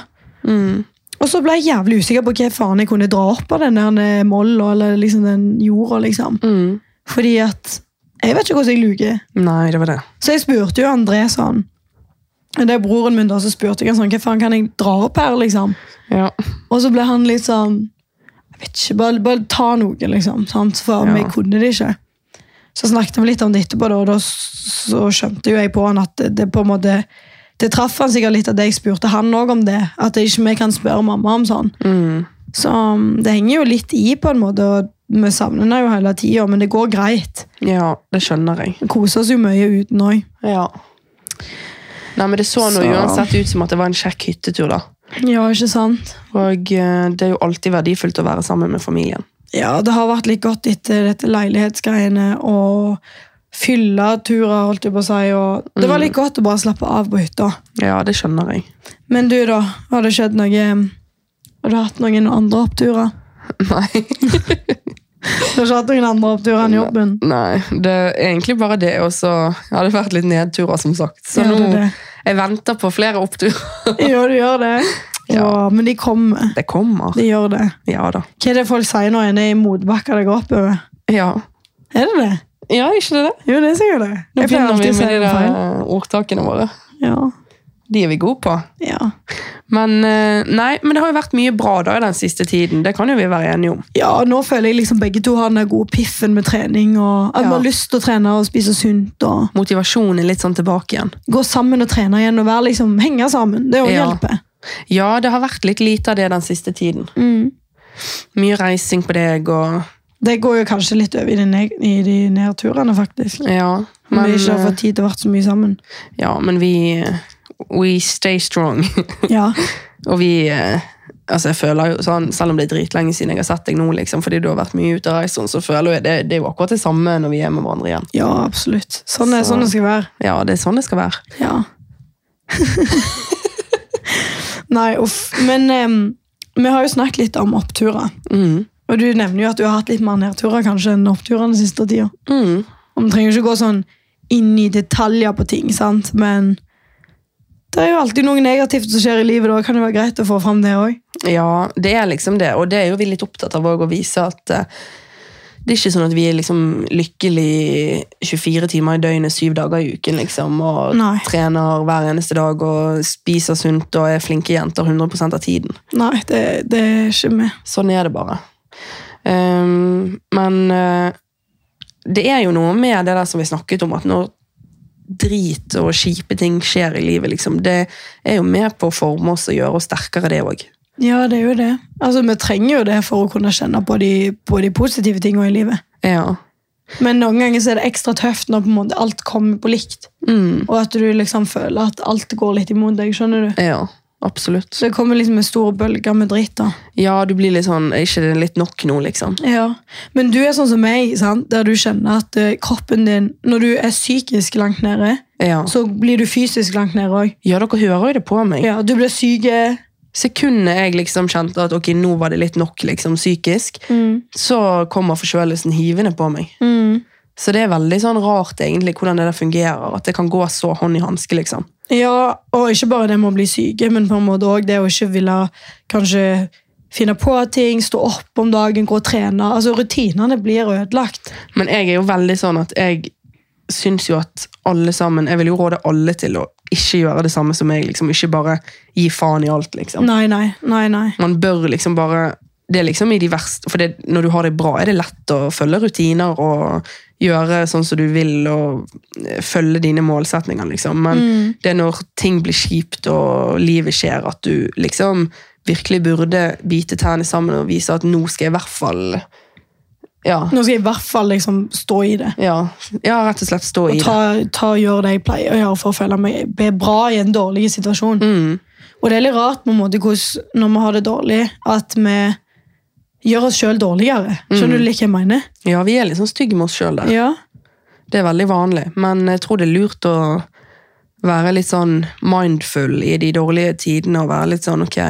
S2: Mm.
S1: Og så ble jeg jævlig usikker på hva faen jeg kunne dra opp av den der molla, eller liksom den jorda, liksom.
S2: Mm.
S1: Fordi at jeg vet ikke hvordan jeg luker.
S2: Nei, det var det.
S1: Så jeg spurte jo André sånn Det er broren min, da, så spurte jeg han sånn Hva faen kan jeg dra opp her, liksom?
S2: Ja.
S1: Og så ble han litt sånn Jeg vet ikke, bare, bare ta noe, liksom. Sant? For
S2: Ja.
S1: vi kunne det ikke. Så snakket vi litt om det etterpå, da, og da så skjønte jo jeg på han at det, det på en måte Det traff han sikkert litt at jeg spurte han òg om det. At det ikke vi kan spørre mamma om sånn.
S2: Mm.
S1: Så um, det henger jo litt i, på en måte. og vi savner henne jo hele tida, men det går greit.
S2: Ja, det skjønner jeg.
S1: Vi koser oss jo mye uten òg.
S2: Ja. Nei, men det så nå
S1: Så-
S2: uansett ut som at det var en kjekk hyttetur, da.
S1: Ja, ikke sant?
S2: Og eh, det er jo alltid verdifullt å være sammen med familien.
S1: Ja, det har vært litt godt etter dette leilighetsgreiene og fylleturer, holdt jeg på å si. Og det
S2: Mm.
S1: var litt godt å bare slappe av på hytta.
S2: Ja, det skjønner jeg.
S1: Men du, da? Har det skjedd noe Har du hatt noen andre oppturer?
S2: Nei.
S1: Du har ikke hatt noen andre oppturer enn jobben?
S2: Nei, det er egentlig bare det, og så har det vært litt nedturer, som sagt. Så
S1: Ja, det er
S2: nå
S1: det.
S2: Jeg venter på flere oppturer.
S1: Ja, du gjør det. Ja, men de kommer.
S2: Det kommer.
S1: De gjør det.
S2: Ja da.
S1: Hva er det folk sier når en er i motbakker det går oppover?
S2: Ja.
S1: Er det det?
S2: Ja, ikke det? det?
S1: Jo, det er sikkert det.
S2: Nå
S1: Jeg pleier
S2: begynner vi
S1: alltid å si
S2: med de
S1: det
S2: der
S1: feil.
S2: eh, ordtakene våre.
S1: Ja.
S2: De er vi gode på.
S1: Ja.
S2: Men eh, nei, men det har jo vært mye bra da i den siste tiden. Det kan jo vi være enige om.
S1: Ja, og nå føler jeg liksom begge to har den der gode piffen med trening. og At
S2: Ja.
S1: man har lyst til å trene og spise sunt. og
S2: Motivasjonen er litt sånn tilbake igjen.
S1: Gå sammen og trene igjen og være liksom, henge sammen. Det òg
S2: Ja.
S1: hjelper.
S2: Ja, det har vært litt lite av det den siste tiden.
S1: Mm.
S2: Mye reising på deg og
S1: Det går jo kanskje litt over i de, ned, i de nedturene, faktisk.
S2: Ja.
S1: Om vi
S2: Men, eh,
S1: ikke har fått tid til å vært så mye sammen.
S2: ja, men vi We stay strong.
S1: Ja,
S2: og vi eh, Altså, jeg føler jo sånn, Selv om det er dritlenge siden jeg har sett deg nå, liksom, fordi du har vært mye ute og reist, sånn, så føler jeg det, det er jo akkurat det samme når vi er med hverandre igjen.
S1: ja absolutt. Sånn, er,
S2: Så-
S1: sånn det skal være.
S2: Ja, det er sånn det skal være.
S1: Ja. Nei, uff. Men em, vi har jo snakket litt om oppturer.
S2: Mm.
S1: Og du nevner jo at du har hatt litt mer nedturer kanskje enn oppturer den siste tida.
S2: Mm.
S1: Og man trenger ikke gå sånn inn i detaljer på ting, sant? men det er jo alltid noe negativt som skjer i livet, da kan det være greit å få fram det òg.
S2: Ja, det er liksom det, og det er jo vi litt opptatt av også, å vise at eh, det er ikke sånn at vi er liksom lykkelig 24 timer i døgnet, syv dager i uken, liksom, og
S1: Nei.
S2: trener hver eneste dag og spiser sunt og er flinke jenter 100 av tiden.
S1: Nei, det, det er ikke vi.
S2: Sånn er det bare. Ehm, men eh, det er jo noe med det der som vi snakket om, at når drit og kjipe ting skjer i livet, liksom, det er jo med på å forme oss og gjøre oss sterkere, det òg.
S1: Ja, det er jo det. Altså, Vi trenger jo det for å kunne kjenne på de, på de positive tingene i livet.
S2: Ja.
S1: Men noen ganger så er det ekstra tøft når på en måte alt kommer på likt,
S2: Mm,
S1: og at du liksom føler at alt går litt imot deg. skjønner du?
S2: ja, absolutt.
S1: Så det kommer liksom en stor bølge med dritt. da.
S2: Ja, du blir litt sånn Er ikke det litt nok nå, liksom?
S1: Ja, Men du er sånn som meg, sant? der du kjenner at eh, kroppen din Når du er psykisk langt nede,
S2: Ja.
S1: så blir du fysisk langt ned òg.
S2: ja, dere hører jo det på meg.
S1: Ja, du blir syk.
S2: Sekundet jeg liksom kjente at ok, nå var det litt nok liksom, psykisk,
S1: Mm.
S2: så kommer forkjølelsen hivende på meg.
S1: Mm.
S2: Så det er veldig sånn rart egentlig hvordan det der fungerer, at det kan gå så hånd i hanske. Liksom.
S1: Ja, og ikke bare det med å bli syke, men på en måte òg det å ikke ville kanskje finne på ting, stå opp om dagen, gå og trene. Altså, rutinene blir ødelagt.
S2: Men jeg er jo veldig sånn at jeg syns jo at alle sammen Jeg vil jo råde alle til å ikke gjøre det samme som meg. Liksom. Ikke bare gi faen i alt, liksom.
S1: Nei, nei, nei, nei.
S2: Man bør liksom bare det er liksom i de verste, for det, Når du har det bra, er det lett å følge rutiner og gjøre sånn som du vil og eh, følge dine målsetninger, liksom. Men
S1: Mm.
S2: det er når ting blir kjipt og livet skjer, at du liksom virkelig burde bite tærne sammen og vise at nå skal jeg i hvert fall Ja,
S1: Nå skal jeg i hvert fall liksom stå i det.
S2: ja, ja rett og slett stå i
S1: Og
S2: det.
S1: ta, ta og gjøre det jeg pleier å gjøre for å føle meg be- bra i en dårlig situasjon.
S2: Mm,
S1: Og det er litt rart på en måte hvordan, når vi har det dårlig, at vi gjør oss sjøl dårligere.
S2: Mm.
S1: Skjønner du litt hva jeg mener?
S2: ja, vi er litt sånn stygge med oss sjøl der.
S1: Ja.
S2: Det er veldig vanlig. Men jeg tror det er lurt å være litt sånn mindful i de dårlige tidene og være litt sånn ok.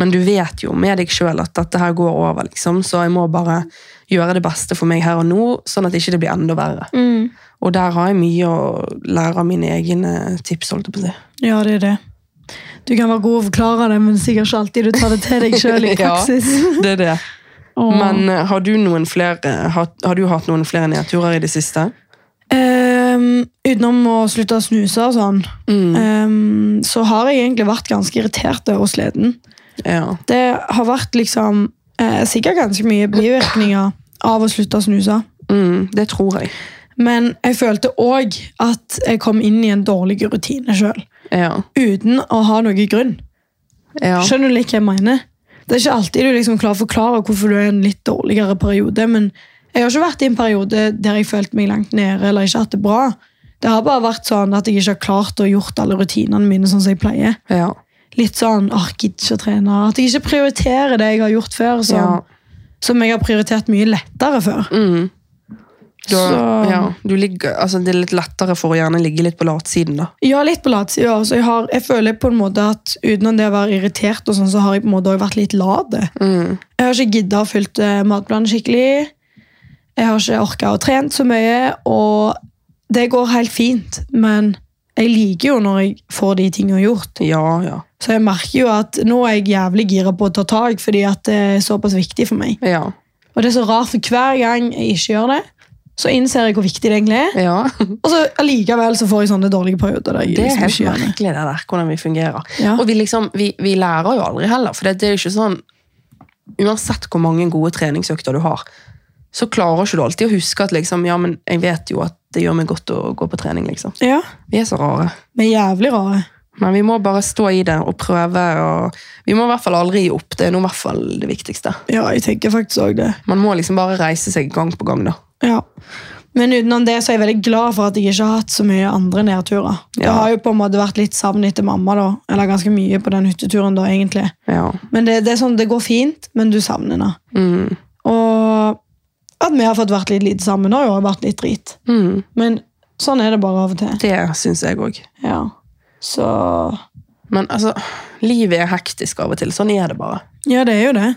S2: Men du vet jo med deg sjøl at dette her går over, liksom. Så jeg må bare gjøre det beste for meg her og nå, sånn at ikke det blir enda verre. Og der har jeg mye å lære av mine egne tips, holdt jeg på å si.
S1: Ja, det er det. Du kan være god og forklare det, men sikkert ikke alltid du tar det til deg sjøl i
S2: Ja.
S1: praksis.
S2: Det er det.
S1: Åh.
S2: Men eh, har du, noen flere, har, har du hatt noen flere nedturer i det siste?
S1: Ehm, utenom å slutte å snuse og sånn,
S2: Mm.
S1: ehm, så har jeg egentlig vært ganske irritert og sliten.
S2: Ja.
S1: Det har vært liksom eh, sikkert ganske mye bivirkninger av å slutte å snuse.
S2: Mm, det tror jeg.
S1: Men jeg følte òg at jeg kom inn i en dårlig rutine sjøl.
S2: Ja.
S1: Uten å ha noen grunn.
S2: ja.
S1: Skjønner du litt hva jeg mener? Det er ikke alltid du liksom klarer å forklare hvorfor du er i en litt dårligere periode, men jeg har ikke vært i en periode der jeg følte meg langt nede eller ikke hatt det bra. Det har bare vært sånn at jeg ikke har klart å gjort alle rutinene mine sånn som jeg pleier.
S2: Ja.
S1: Litt sånn «Åh, jeg gidder ikke å trene. At jeg ikke prioriterer det jeg har gjort før, som,
S2: Ja.
S1: som jeg har prioritert mye lettere før.
S2: Mm. Du, har-
S1: Så-
S2: ja, du ligger, altså det er litt lettere for å gjerne ligge litt på latsiden, da.
S1: Ja, litt på latsida. Ja, så jeg, har- jeg føler på en måte at utenom det å være irritert, og sånn, så har jeg på en måte også vært litt late.
S2: Mm.
S1: Jeg har ikke giddet å fylle eh, matplanen skikkelig. Jeg har ikke orket å trene så mye, og det går helt fint. Men jeg liker jo når jeg får de tingene gjort.
S2: Ja, ja.
S1: Så jeg merker jo at nå er jeg jævlig gira på å ta tak, fordi at det er såpass viktig for meg.
S2: Ja.
S1: Og det er så rart, for hver gang jeg ikke gjør det, så innser jeg hvor viktig det egentlig er.
S2: ja.
S1: Og så allikevel så får jeg sånne dårlige perioder der jeg
S2: Det er
S1: liksom
S2: helt
S1: ikke gjør det.
S2: merkelig, det der, hvordan vi fungerer.
S1: Ja.
S2: Og vi, liksom, vi, vi lærer jo aldri heller, for det, det er jo ikke sånn Uansett hvor mange gode treningsøkter du har, så klarer ikke du alltid å huske at liksom, ja, men jeg vet jo at det gjør meg godt å gå på trening, liksom.
S1: Ja,
S2: Vi er så rare.
S1: vi er jævlig rare.
S2: Men vi må bare stå i det og prøve. Og vi må i hvert fall aldri gi opp. Det er nå i hvert fall det viktigste.
S1: Ja, jeg tenker faktisk også det.
S2: Man må liksom bare reise seg gang på gang, da.
S1: Ja. Men utenom det så er jeg veldig glad for at jeg ikke har hatt så mye andre nedturer. Det
S2: Ja.
S1: har jo på en måte vært litt savn etter mamma, da. Eller ganske mye på den hytteturen, da, egentlig.
S2: Ja.
S1: Men det, det er sånn, det går fint, men du savner henne.
S2: Mm.
S1: Og at vi har fått vært litt lite sammen, har jo også vært litt drit.
S2: Mm.
S1: Men sånn er det bare av og til.
S2: Det syns jeg òg.
S1: Ja. Så
S2: Men altså, livet er hektisk av og til. Sånn er det bare.
S1: Ja, det er jo det.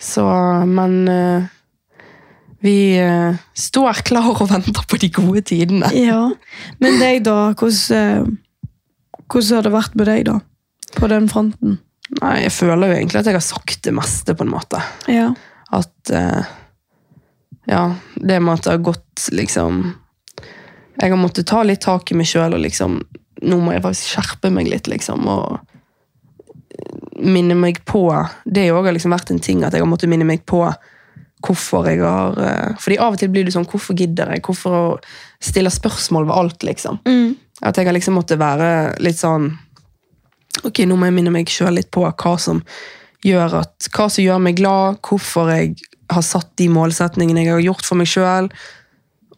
S2: Så, men eh, Vi eh, står klar og venter på de gode tidene.
S1: Ja. Men deg, da? Hvordan, eh, hvordan har det vært med deg, da? På den fronten?
S2: Nei, Jeg føler jo egentlig at jeg har sagt det meste, på en måte.
S1: Ja.
S2: At eh, Ja, det med at det har gått liksom Jeg har måttet ta litt tak i meg sjøl og liksom Nå må jeg faktisk skjerpe meg litt, liksom. og minne meg på Det har også liksom vært en ting at jeg har måttet minne meg på hvorfor jeg har eh, Fordi av og til blir det sånn Hvorfor gidder jeg? Hvorfor stiller spørsmål ved alt, liksom?
S1: Mm.
S2: At jeg har liksom måttet være litt sånn Ok, nå må jeg minne meg sjøl litt på hva som gjør at Hva som gjør meg glad, hvorfor jeg har satt de målsetningene jeg har gjort for meg sjøl,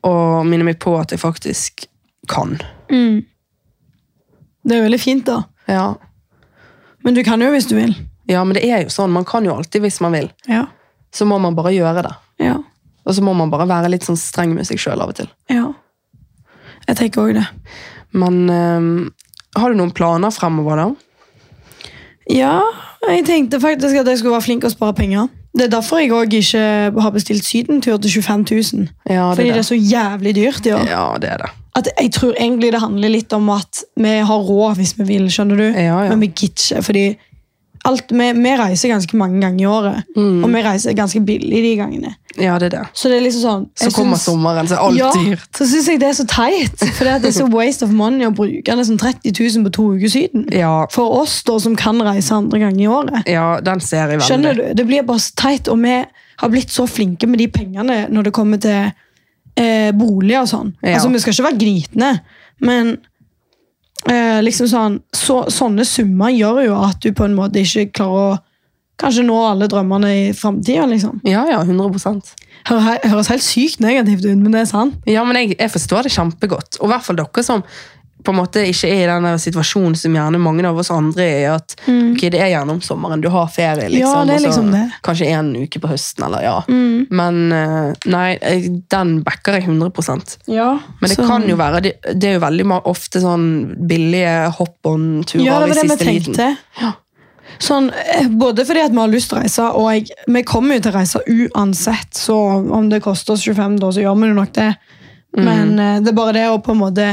S2: og minne meg på at jeg faktisk kan.
S1: Mm. Det er veldig fint, da.
S2: Ja.
S1: Men du kan jo hvis du vil.
S2: ja, men det er jo sånn. Man kan jo alltid hvis man vil.
S1: Ja.
S2: Så må man bare gjøre det.
S1: Ja.
S2: Og så må man bare være litt sånn streng med seg sjøl av og til.
S1: ja. Jeg tenker òg det.
S2: Men eh, har du noen planer fremover, da?
S1: Ja, jeg tenkte faktisk at jeg skulle være flink og spare penger. Det er derfor jeg også ikke har bestilt sydentur til 25 000.
S2: Ja,
S1: Fordi det er så jævlig dyrt i år.
S2: Ja, det er det.
S1: At jeg tror egentlig det handler litt om at vi har råd hvis vi vil, skjønner du?
S2: Ja, ja.
S1: Men vi gidder ikke, fordi alt, vi, vi reiser ganske mange ganger i året.
S2: Mm.
S1: Og vi reiser ganske billig de gangene.
S2: Ja, det er det.
S1: Så det er liksom sånn...
S2: Så
S1: jeg
S2: kommer
S1: syns-
S2: sommeren, så er alt
S1: ja,
S2: dyrt.
S1: så syns jeg det er så teit. For det er så waste of money å bruke nesten 30 000 på to uker siden.
S2: Ja,
S1: For oss da, som kan reise andre ganger i året.
S2: ja, den ser jeg veldig.
S1: Skjønner du? Det blir bare så teit, og vi har blitt så flinke med de pengene når det kommer til eh, boliger og sånn.
S2: Ja.
S1: Altså, vi skal ikke være gritne, men eh, liksom sånn, så, sånne summer gjør jo at du på en måte ikke klarer å kanskje nå alle drømmene i framtida, liksom.
S2: Ja, ja, 100
S1: Hører he- Høres helt sykt negativt ut, men det er sant.
S2: Ja, men jeg, jeg forstår det kjempegodt. Og i hvert fall dere som på en måte ikke er i den der situasjonen som gjerne mange av oss andre er i. At ok, det er gjerne om sommeren, du har ferie,
S1: Mm. Ja,
S2: liksom.
S1: det er
S2: og så
S1: liksom det. Mm.
S2: Kanskje en uke på høsten, eller ja. Men eh, nei, jeg- den backer jeg 100
S1: Ja,
S2: men det kan jo være, det, det er jo veldig ma- ofte sånn billige hopp-on-turer
S1: Ja, det
S2: i
S1: var det
S2: siste
S1: vi
S2: liten.
S1: tenkte. Sånn, eh, både fordi at vi har lyst til å reise, og jeg, vi kommer jo til å reise uansett. Så om det koster oss 25, da, så gjør vi jo nok det.
S2: Mm.
S1: Men eh, det er bare det å på en måte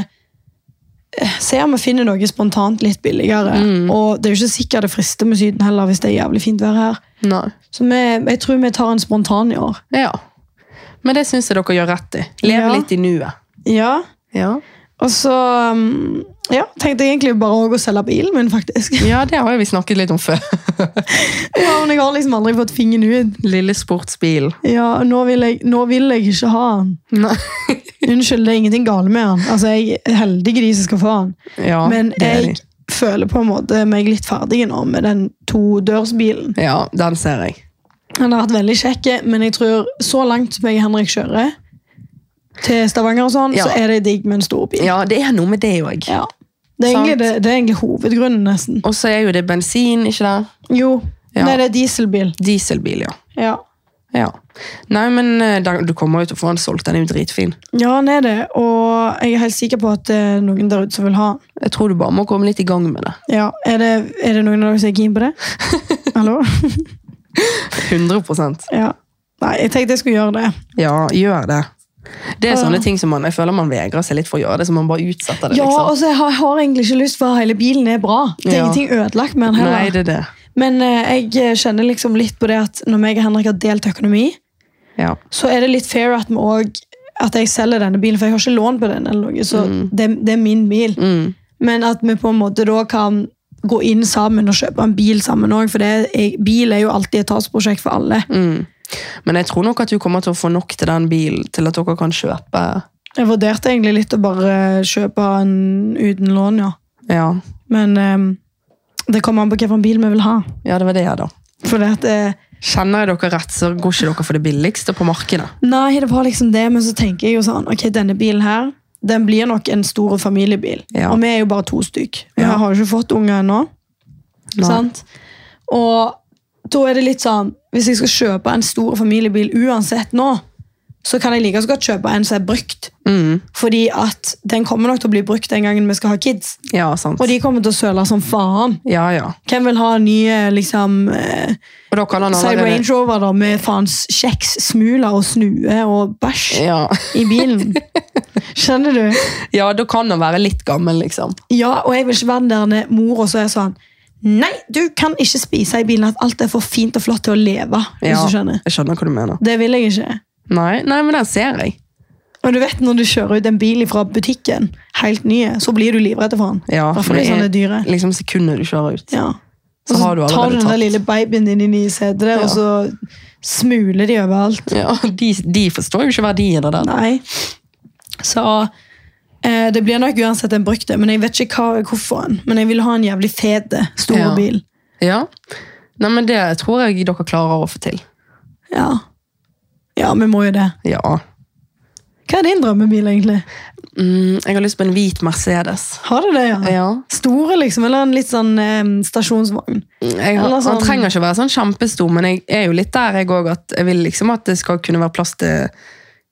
S1: eh, se om vi finner noe spontant litt billigere.
S2: Mm.
S1: Og det er jo ikke sikkert det frister med Syden heller, hvis det er jævlig fint vær her.
S2: Nei.
S1: Så vi, jeg tror vi tar en spontan i år.
S2: Ja. Men det syns jeg dere gjør rett i. Leve
S1: Ja.
S2: litt i nuet.
S1: Ja,
S2: Ja.
S1: og så um, ja, tenkte jeg egentlig bare også å selge bilen min, faktisk.
S2: ja, det har jo vi snakket litt om før.
S1: ja, men jeg har liksom aldri fått fingeren ut.
S2: Lille sportsbil.
S1: Ja, nå vil jeg, nå vil jeg ikke ha den.
S2: Nei.
S1: Unnskyld, det er ingenting galt med han. Altså, jeg er heldig i de som skal få han.
S2: Ja,
S1: Men
S2: det er
S1: jeg føler på en måte meg litt ferdig nå med den todørsbilen.
S2: de. Ja, den ser jeg.
S1: Han har vært veldig kjekk, men jeg tror så langt som jeg og Henrik kjører til Stavanger og sånn,
S2: Ja.
S1: så er det digg med en stor bil.
S2: Ja, det er noe med det òg.
S1: Ja. Det, er
S2: Sant.
S1: egentlig, det, det er egentlig hovedgrunnen, nesten.
S2: Og så er jo det bensin, ikke det?
S1: Jo,
S2: Ja.
S1: nei, det er dieselbil.
S2: Dieselbil, ja.
S1: Ja,
S2: ja. Nei, men eh, den- du kommer jo til å få den solgt. Den er jo dritfin.
S1: ja han er det, og jeg er helt sikker på at det er noen der ute som vil ha han.
S2: Jeg tror du bare må komme litt i gang med det.
S1: Ja, er det, er det noen av dere som er keen på det? Hallo?
S2: 100
S1: Ja. Nei, jeg tenkte jeg skulle gjøre det.
S2: Ja, gjør det. Det er
S1: Ja.
S2: sånne ting som man, jeg føler man vegrer seg litt for å gjøre det, så man bare utsetter det.
S1: Ja,
S2: liksom.
S1: altså, jeg har, jeg har egentlig ikke lyst, for hele bilen er bra. Det er
S2: Ja.
S1: ingenting ødelagt med den
S2: Nei,
S1: heller.
S2: det er det.
S1: Men eh, jeg kjenner liksom litt på det at når jeg og Henrik har delt økonomi,
S2: Ja.
S1: så er det litt fair at, vi også- at jeg selger denne bilen, for jeg har ikke lån på den, eller noe, så det, det er min bil.
S2: Mm.
S1: Men at vi på en måte da kan gå inn sammen og kjøpe en bil sammen òg, for det er, bil er jo alltid et tapsprosjekt for alle.
S2: Mm. Men jeg tror nok at du kommer til å få nok til den bilen til at dere kan kjøpe
S1: Jeg vurderte egentlig litt å bare eh, kjøpe en uten lån, ja.
S2: Ja,
S1: Men ehm, det kommer an på hvilken bil vi vil ha.
S2: ja det var det, da.
S1: For det at eh,
S2: Kjenner jeg dere rett, så går ikke dere for det billigste på markedet.
S1: Nei, det var liksom det, men så tenker jeg jo sånn Ok, denne bilen her, den blir nok en stor familiebil.
S2: Ja.
S1: Og vi er jo bare to stykk. Vi
S2: Ja.
S1: har jo ikke fått unger ennå.
S2: Nei.
S1: Sant? Og da er det litt sånn Hvis jeg skal kjøpe en stor familiebil uansett nå, så kan jeg like så godt kjøpe en som er brukt.
S2: Mm.
S1: Fordi at den kommer nok til å bli brukt den gangen vi skal ha kids.
S2: Ja, sant.
S1: Og de kommer til å søle som faen.
S2: Ja, ja.
S1: Hvem vil ha nye liksom eh,
S2: Og da kan han
S1: Si Range
S2: allerede
S1: Rover da, med faens kjeks, smuler og snue og bæsj
S2: ja.
S1: i bilen. Skjønner du?
S2: ja, da kan han være litt gammel, liksom.
S1: Ja, og jeg vil ikke være den der nede mora som er sånn Nei, du kan ikke spise i bilen at alt er for fint og flott til å leve. hvis
S2: Ja,
S1: du skjønner.
S2: Jeg skjønner hva du mener.
S1: Det vil jeg ikke.
S2: Nei, nei men den ser jeg.
S1: Og du vet når du kjører ut en bil fra butikken, helt ny, så blir du livredd for den.
S2: Ja,
S1: Derfor er
S2: det
S1: sånne
S2: er-
S1: dyre.
S2: Liksom sekundet du kjører ut.
S1: Ja.
S2: Så
S1: Og så
S2: har du
S1: tar
S2: allerede
S1: du den
S2: tatt.
S1: der lille babyen din inn i setet, der,
S2: Ja.
S1: og så smuler de overalt.
S2: Ja, de, de forstår jo ikke verdien av den.
S1: Nei. Så eh, det blir nok uansett en brukt men jeg vet ikke hva, hvorfor. en. Men jeg vil ha en jævlig fet, stor
S2: Ja.
S1: bil.
S2: Ja. Nei, men det tror jeg dere klarer å få til.
S1: Ja. ja, vi må jo det.
S2: Ja.
S1: Hva er din drømmebil, egentlig?
S2: Mm, jeg har lyst på en hvit Mercedes.
S1: Har du det, ja?
S2: Ja.
S1: Store, liksom? Eller en litt sånn eh, stasjonsvogn?
S2: Mm, Jeg, har-
S1: Eller sånn-
S2: Han trenger ikke å være sånn kjempestor, men jeg er jo litt der jeg òg, at jeg vil liksom at det skal kunne være plass til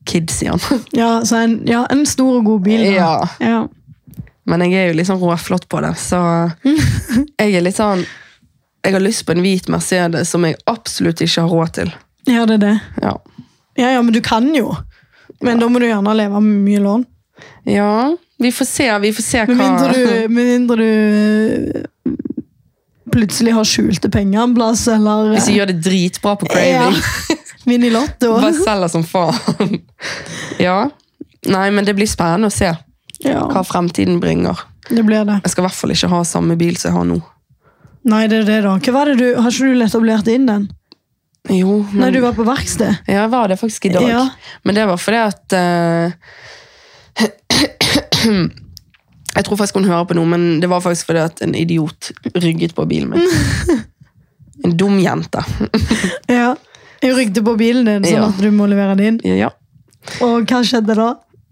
S2: kids i han.
S1: Ja, så en, ja, en stor og god bil. da.
S2: Ja.
S1: ja.
S2: Men jeg er jo litt sånn råflott på det, så jeg er litt sånn Jeg har lyst på en hvit Mercedes som jeg absolutt ikke har råd til.
S1: Ja, det er det.
S2: Ja.
S1: Ja, ja, men du kan jo. Men da må du gjerne leve med mye lån.
S2: ja vi får se, vi får se
S1: Med mindre
S2: hva
S1: du, med mindre du øh, plutselig har skjulte penger en plass, eller
S2: Hvis jeg gjør det dritbra på craving.
S1: Vinn i Lotto.
S2: Bare selger som faen. ja. Nei, men det blir spennende å se
S1: Ja,
S2: hva fremtiden bringer.
S1: det blir det.
S2: Jeg skal i hvert fall ikke ha samme bil som jeg har nå.
S1: Nei, det er det, da. Hva var det du, Har ikke du etablert inn den?
S2: Jo, men
S1: Nei, du var på verksted.
S2: Ja, jeg var det faktisk i dag.
S1: Ja.
S2: Men det var fordi at eh, Jeg tror faktisk hun hører på noe, men det var faktisk fordi at en idiot rygget på bilen min. En dum jente.
S1: Ja. Jeg rygde på bilen din, sånn
S2: Ja.
S1: at du må levere den inn.
S2: Ja.
S1: Og hva skjedde da?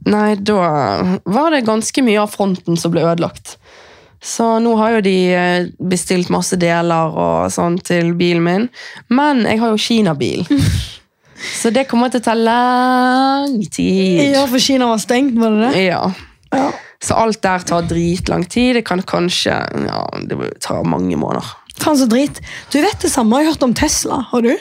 S2: Nei, da var det ganske mye av fronten som ble ødelagt. Så nå har jo de eh, bestilt masse deler og sånn til bilen min. Men jeg har jo Kina-bil. Så det kommer til å ta lang tid.
S1: Ja, for Kina var stengt, var det det?
S2: Ja.
S1: Ja.
S2: Så alt der tar dritlang tid. Det kan kanskje ja, det tar mange måneder.
S1: Faen så drit. Du vet det samme jeg har hørt om Tesla, har du?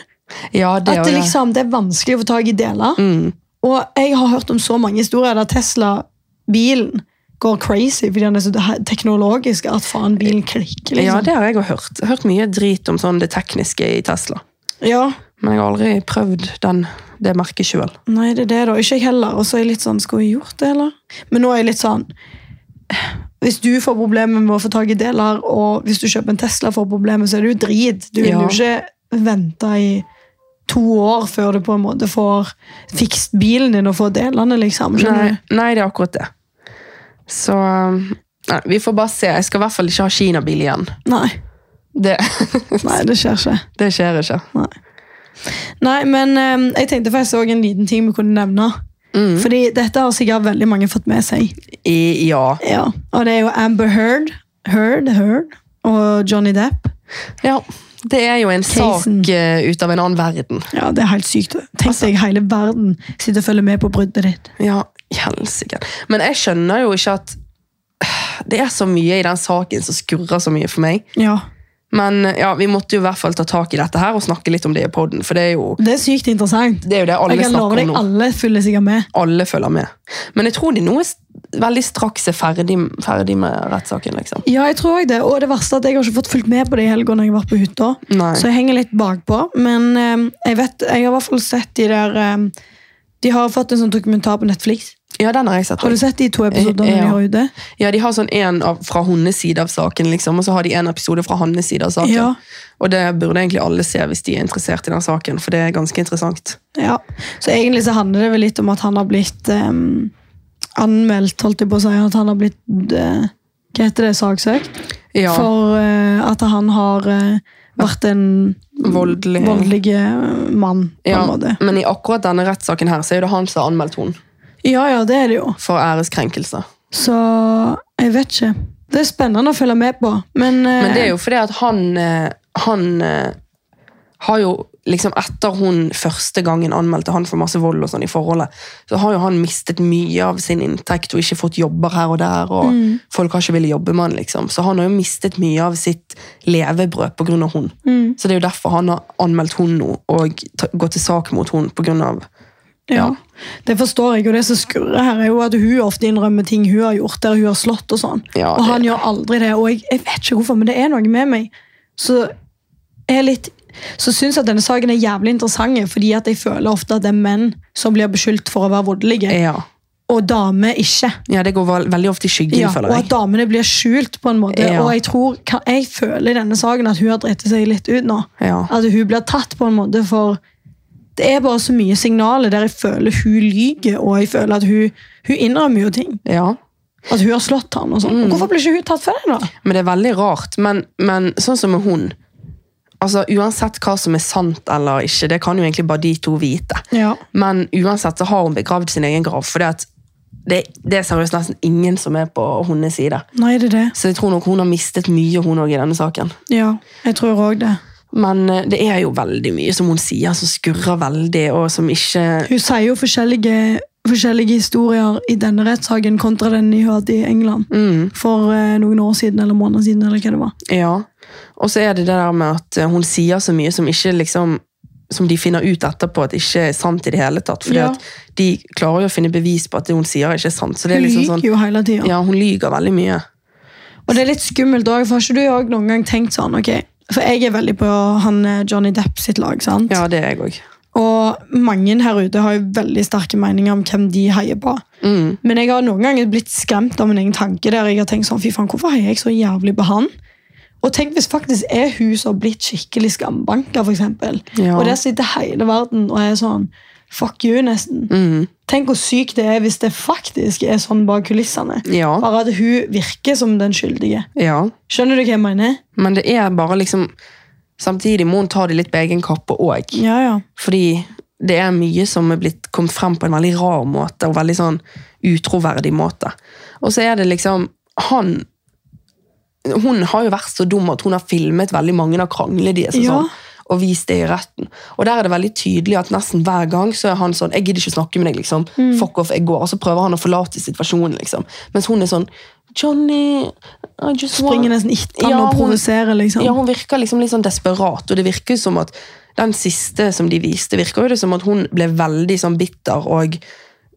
S2: Ja, det,
S1: At det, liksom, det er vanskelig å få tak i deler.
S2: mm.
S1: Og jeg har hørt om så mange historier der Tesla-bilen går crazy fordi den er så te- teknologisk at faen, bilen klikker.
S2: ja,
S1: Liksom.
S2: det har jeg også hørt. Jeg har hørt mye drit om sånn det tekniske i Tesla.
S1: Ja,
S2: Men jeg har aldri prøvd den, det merket sjøl.
S1: Nei, det er det, da. Ikke jeg heller. Og så er jeg litt sånn Skulle jeg gjort det, eller? Men nå er jeg litt sånn Hvis du får problemer med å få tak i deler, og hvis du kjøper en Tesla for problemer, så er det jo drit. Du vil
S2: Ja.
S1: jo ikke vente i to år før du på en måte får fikst bilen din og får delene, liksom.
S2: Nei,
S1: Skjønner du?
S2: nei, det er akkurat det. Så eh, nei, Vi får bare se. Jeg skal i hvert fall ikke ha Kina-bil igjen.
S1: Nei.
S2: Det,
S1: Nei, det skjer ikke.
S2: det skjer ikke.
S1: Nei, men eh, jeg tenkte faktisk også en liten ting vi kunne nevne.
S2: Mm.
S1: Fordi dette har sikkert veldig mange fått med seg.
S2: I, ja.
S1: Ja. Og det er jo Amber Heard, Heard, Heard og Johnny Depp.
S2: ja. Det er jo en
S1: Casen.
S2: sak eh, ut av en annen verden.
S1: Ja, det er helt sykt. Altså. Tenk deg hele verden sitter og følger med på bruddet ditt.
S2: Ja, helsike. Men jeg skjønner jo ikke at det er så mye i den saken som skurrer så mye for meg.
S1: Ja,
S2: Men ja, vi måtte jo i hvert fall ta tak i dette her og snakke litt om det i poden. For det er jo
S1: Det er sykt interessant.
S2: det, er jo det alle
S1: jeg kan love
S2: snakker
S1: deg,
S2: om nå.
S1: alle følger sikkert med.
S2: Alle følger med. Men jeg tror de nå er s- veldig straks er ferdig, ferdig med rettssaken, liksom.
S1: Ja, jeg tror også det. Og det verste er at jeg har ikke fått fulgt med på det i helga når jeg har vært på hytta.
S2: Nei.
S1: Så jeg henger litt bakpå. Men eh, jeg vet, jeg har i hvert fall sett de der eh, De har fått en sånn dokumentar på Netflix.
S2: Ja, den har jeg sett.
S1: Har du sett de to episodene
S2: Eh, Ja.
S1: de har ute?
S2: Ja, De har sånn en av, fra hennes side av saken, liksom, og så har de en episode fra hans side av saken.
S1: Ja.
S2: Og det burde egentlig alle se hvis de er interessert i den saken, for det er ganske interessant.
S1: Ja. Så egentlig så handler det vel litt om at han har blitt eh, anmeldt, holdt jeg på å si. At han har blitt eh, Hva heter det? Saksøkt?
S2: Ja,
S1: for eh, at han har eh, vært en
S2: voldelig.
S1: voldelig eh, mann, på en
S2: Ja,
S1: måte.
S2: men i akkurat denne rettssaken her, så er det han som har anmeldt henne
S1: Ja, ja, det er det jo.
S2: for æreskrenkelse.
S1: Så jeg vet ikke. Det er spennende å følge med på, men, eh,
S2: Men det er jo fordi at han, eh, han eh, har jo liksom etter hun første gangen anmeldte han for masse vold og sånn i forholdet, så har jo han mistet mye av sin inntekt og ikke fått jobber her og der, og
S1: Mm.
S2: folk har ikke villet jobbe med han, liksom. Så han har jo mistet mye av sitt levebrød på grunn av hun.
S1: Mm.
S2: Så det er jo derfor han har anmeldt hun nå, og ta- gått til sak mot hun på grunn av
S1: ja. Det forstår jeg, og det som skurrer her, er jo at hun ofte innrømmer ting hun har gjort, der hun har slått og sånn.
S2: Ja,
S1: og
S2: det-
S1: han gjør aldri det, og jeg, jeg vet ikke hvorfor, men det er noe med meg. Så jeg er litt så syns jeg at denne saken er jævlig interessant, fordi at jeg føler ofte at det er menn som blir beskyldt for å være voldelige,
S2: Ja,
S1: og damer ikke.
S2: ja det går vel- veldig ofte i skyggen,
S1: Ja, og
S2: føler jeg.
S1: at damene blir skjult på en måte.
S2: Ja.
S1: Og jeg tror, kan- jeg føler i denne saken at hun har dritt seg litt ut nå.
S2: Ja.
S1: At hun blir tatt på en måte for Det er bare så mye signaler der jeg føler hun lyver, og jeg føler at hun, hun innrømmer jo ting.
S2: ja.
S1: At hun har slått han og sånn. Og Hvorfor blir ikke hun tatt for det, da?
S2: Men det er veldig rart. Men, men sånn som med hun altså Uansett hva som er sant eller ikke, det kan jo egentlig bare de to vite.
S1: Ja.
S2: Men uansett så har hun begravd sin egen grav. For det, at det, det er seriøst nesten ingen som er på hennes side.
S1: Nei, det er det.
S2: Så jeg tror nok hun har mistet mye, hun òg, i denne saken.
S1: Ja, jeg tror òg det.
S2: Men eh, det er jo veldig mye som hun sier, som skurrer veldig, og som ikke
S1: Hun sier jo forskjellige forskjellige historier i denne rettssaken kontra den jeg hørte i England
S2: Mm,
S1: for eh, noen år siden eller måneder siden. eller hva det var.
S2: ja. Og så er det det der med at eh, hun sier så mye som ikke liksom som de finner ut etterpå at ikke er sant i det hele tatt. Fordi
S1: Ja.
S2: at de klarer jo å finne bevis på at det hun sier, ikke er sant. Så det
S1: Hun
S2: er liksom
S1: lyver
S2: sånn,
S1: jo hele tida.
S2: ja, hun lyger veldig mye.
S1: Og det er litt skummelt òg, for har ikke du også noen gang tenkt sånn ok, For jeg er veldig på han eh, Johnny Depp sitt lag. sant?
S2: Ja, det er jeg òg.
S1: Og mange her ute har jo veldig sterke meninger om hvem de heier på.
S2: Mm,
S1: Men jeg har noen ganger blitt skremt av min egen tanke. der jeg har tenkt sånn, fy faen, Hvorfor heier jeg så jævlig på han? Og tenk hvis faktisk er hun som har blitt skikkelig skambanka, for eksempel.
S2: Ja.
S1: Og der sitter hele verden og er sånn fuck you, nesten.
S2: mm,
S1: Tenk hvor sykt det er hvis det faktisk er sånn bak kulissene.
S2: ja.
S1: Bare at hun virker som den skyldige.
S2: Ja,
S1: Skjønner du hva jeg mener?
S2: men det er bare liksom Samtidig må hun ta det litt på egen kappe òg.
S1: Ja, ja.
S2: Fordi det er mye som er blitt kommet frem på en veldig rar måte, og veldig sånn utroverdig måte. Og så er det liksom Han Hun har jo vært så dum at hun har filmet veldig mange av kranglene deres og
S1: Ja.
S2: sånn, og vist det i retten. Og der er det veldig tydelig at nesten hver gang så er han sånn 'Jeg gidder ikke å snakke med deg', liksom. 'Fuck off, jeg går'. Og så prøver han å forlate situasjonen, liksom. Mens hun er sånn 'Johnny, I just
S1: Springer
S2: want
S1: nesten etter han
S2: Ja,
S1: og
S2: hun-
S1: provoserer, liksom.
S2: ja, hun virker liksom litt sånn desperat, og det virker jo som at den siste som de viste, virker jo det som at hun ble veldig sånn bitter og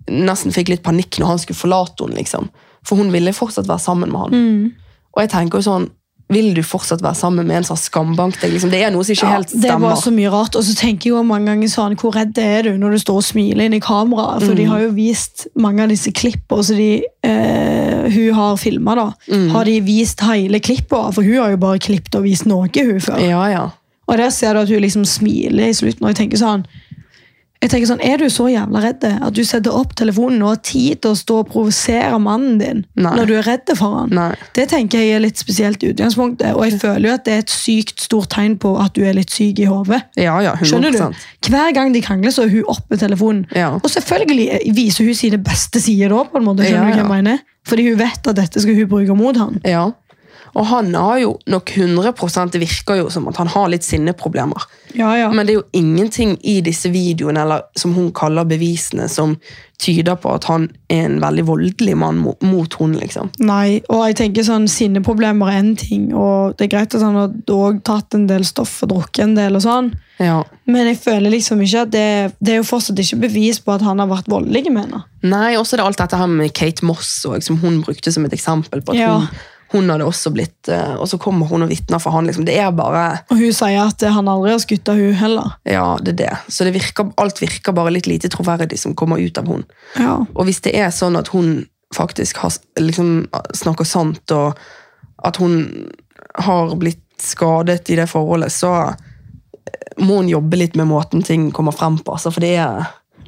S2: nesten fikk litt panikk når han skulle forlate henne, liksom. For hun ville fortsatt være sammen med han.
S1: Mm.
S2: Og jeg tenker jo sånn, vil du fortsatt være sammen med en som har skambank deg? Liksom? Det er noe som ikke
S1: Ja,
S2: helt
S1: Det var
S2: stemmer.
S1: så mye rart. Og så tenker jeg jo mange ganger sånn, hvor redd er du når du står og smiler inn i kameraet? For
S2: Mm.
S1: de har jo vist mange av disse klippene som de, eh, hun har filma, da.
S2: Mm.
S1: Har de vist hele klippet? For hun har jo bare klippet og vist noe, hun før.
S2: Ja, ja.
S1: Og der ser du at hun liksom smiler i slutten, og jeg tenker sånn jeg tenker sånn, Er du så jævla redd at du setter opp telefonen og har tid til å stå og provosere mannen din
S2: Nei.
S1: når du er redd for han?
S2: Nei.
S1: Det tenker jeg er litt spesielt i utgangspunktet, og jeg føler jo at det er et sykt stort tegn på at du er litt syk i hodet.
S2: Ja, ja, 100%.
S1: Skjønner du? Hver gang de krangler, så er hun oppe med telefonen.
S2: Ja.
S1: Og selvfølgelig viser hun sine beste sider da, på en måte, skjønner
S2: Ja,
S1: du hva jeg mener? Fordi hun vet at dette skal hun bruke mot han.
S2: Ja. Og han har jo nok 100 Det virker jo som at han har litt sinneproblemer.
S1: Ja, ja.
S2: Men det er jo ingenting i disse videoene, eller som hun kaller bevisene, som tyder på at han er en veldig voldelig mann mot, mot hun, liksom.
S1: Nei, og jeg tenker sånn, sinneproblemer er en ting, og det er greit at han har også tatt en del stoff og drukket en del og sånn,
S2: Ja.
S1: men jeg føler liksom ikke at det, det er jo fortsatt ikke bevis på at han har vært voldelig med henne.
S2: Nei, også er det alt dette her med Kate Moss, og, som hun brukte som et eksempel på at
S1: Ja.
S2: hun, hun hadde også blitt eh, Og så kommer hun og vitner for han, liksom. Det er bare
S1: Og hun sier at eh, han aldri har skuttet hun heller.
S2: Ja, det er det. Så det virker, alt virker bare litt lite troverdig som kommer ut av hun.
S1: Ja.
S2: Og hvis det er sånn at hun faktisk har, liksom, snakker sant, og at hun har blitt skadet i det forholdet, så eh, må hun jobbe litt med måten ting kommer frem på. Altså, for det er,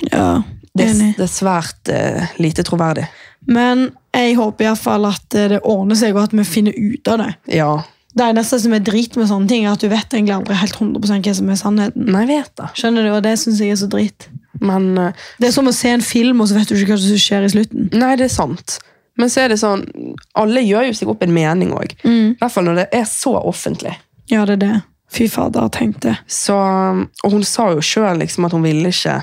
S1: ja.
S2: det, er-
S1: Enig.
S2: det er svært eh, lite troverdig.
S1: Men jeg håper i hvert fall at eh, det ordner seg, og at vi finner ut av det.
S2: Ja.
S1: Det eneste som er drit med sånne ting, er at du vet egentlig aldri helt 100 hva som er sannheten.
S2: Nei, jeg vet det.
S1: Skjønner du? Og det syns jeg er så drit.
S2: Men eh,
S1: Det er som å se en film, og så vet du ikke hva som skjer i slutten.
S2: Nei, det er sant. Men så er det sånn Alle gjør jo seg opp en mening òg. I hvert fall når det er så offentlig.
S1: Ja, det er det. Fy fader, tenk det.
S2: Så, og hun sa jo sjøl liksom at hun ville ikke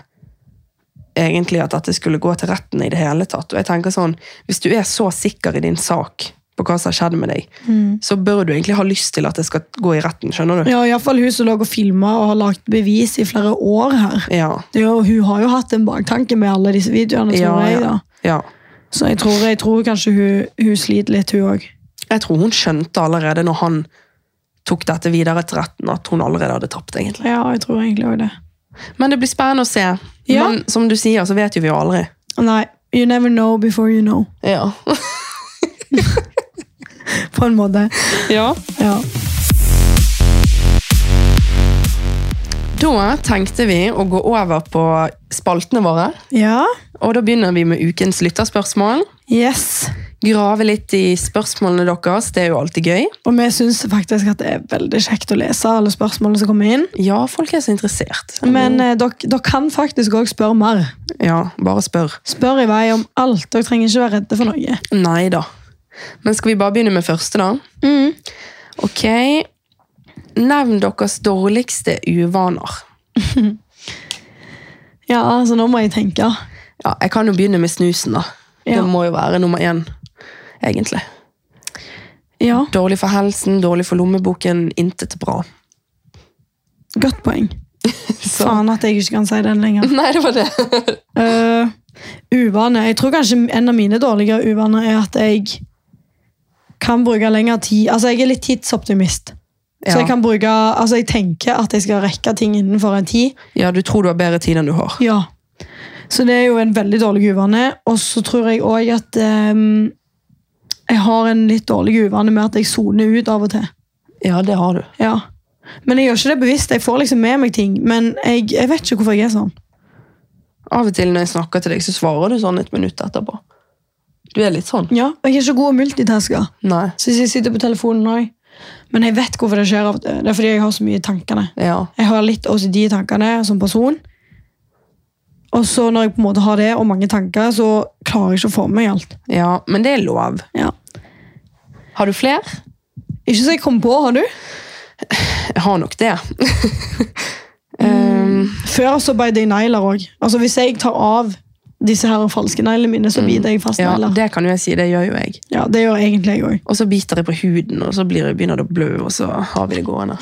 S2: egentlig at dette skulle gå til retten i det hele tatt. Og jeg tenker sånn, Hvis du er så sikker i din sak på hva som har skjedd med deg, så bør du egentlig ha lyst til at det skal gå i retten. skjønner du?
S1: Ja, iallfall hun som lå og filma og har lagt bevis i flere år her.
S2: Ja.
S1: Det er jo, hun har jo hatt en baktanke med alle disse videoene.
S2: Ja,
S1: tror jeg
S2: ja.
S1: da.
S2: ja.
S1: Så jeg tror, jeg tror kanskje hun, hun sliter litt, hun òg.
S2: Jeg tror hun skjønte allerede når han tok dette videre til retten, at hun allerede hadde tapt. egentlig.
S1: Ja, jeg tror egentlig også det.
S2: Men det blir spennende å se.
S1: Ja.
S2: Men som du sier, så vet jo vi jo aldri.
S1: Nei, you never know before you know,
S2: Ja.
S1: på en måte.
S2: ja.
S1: Ja.
S2: Da tenkte vi å gå over på spaltene våre.
S1: ja.
S2: Og da begynner vi med ukens lytterspørsmål.
S1: Yes.
S2: Grave litt i spørsmålene deres, det er jo alltid gøy.
S1: Og vi syns faktisk at det er veldig kjekt å lese alle spørsmålene som kommer inn.
S2: Ja, folk er så interessert.
S1: Men eh, dere dere kan faktisk òg spørre mer.
S2: Ja, bare spør.
S1: Spør i vei om alt. Dere trenger ikke være redde for noe.
S2: Nei da. Men skal vi bare begynne med første, da?
S1: Mm.
S2: Ok. Nevn deres dårligste uvaner.
S1: Ja, altså nå må jeg tenke.
S2: Ja, jeg kan jo begynne med snusen, da.
S1: Ja.
S2: Det må jo være nummer én, egentlig.
S1: Ja,
S2: Dårlig for helsen, dårlig for lommeboken, intet bra.
S1: godt poeng.
S2: Så-
S1: Faen at jeg ikke kan si den lenger.
S2: Nei, det var det.
S1: Eh, uvane. Jeg tror kanskje en av mine dårligere uvaner er at jeg kan bruke lengre tid. Altså, jeg er litt tidsoptimist. Så
S2: Ja.
S1: jeg kan bruke, altså jeg tenker at jeg skal rekke ting innenfor en tid.
S2: Ja, du tror du har bedre tid enn du har.
S1: Ja. Så det er jo en veldig dårlig uvane. Og så tror jeg òg at ehm, jeg har en litt dårlig uvane med at jeg soner ut av og til.
S2: Ja, det har du.
S1: Ja. Men jeg gjør ikke det bevisst. Jeg får liksom med meg ting. Men jeg, jeg vet ikke hvorfor jeg er sånn.
S2: Av og til når jeg snakker til deg, så svarer du sånn et minutt etterpå. Du er litt sånn.
S1: Ja, og Jeg er ikke god å multitaske.
S2: Nei.
S1: Så jeg sitter på telefonen òg. Men jeg vet hvorfor det skjer. av og til. Det er fordi jeg har så mye i tankene.
S2: Ja.
S1: Jeg har litt OCD i tankene som person. Og så når jeg på en måte har det, og mange tanker, så klarer jeg ikke å få med meg alt.
S2: ja, men det er lov.
S1: Ja.
S2: Har du flere?
S1: Ikke så jeg kom på, har du?
S2: Jeg har nok det.
S1: Før så beit jeg negler òg. Altså, hvis jeg tar av disse her falske neglene mine, så biter jeg fast
S2: Ja,
S1: negler.
S2: det kan jo jeg si, det gjør jo jeg.
S1: Ja, det gjør egentlig jeg òg.
S2: Og så biter jeg på huden, og så blir jeg, begynner det å blø, og så har vi det gående.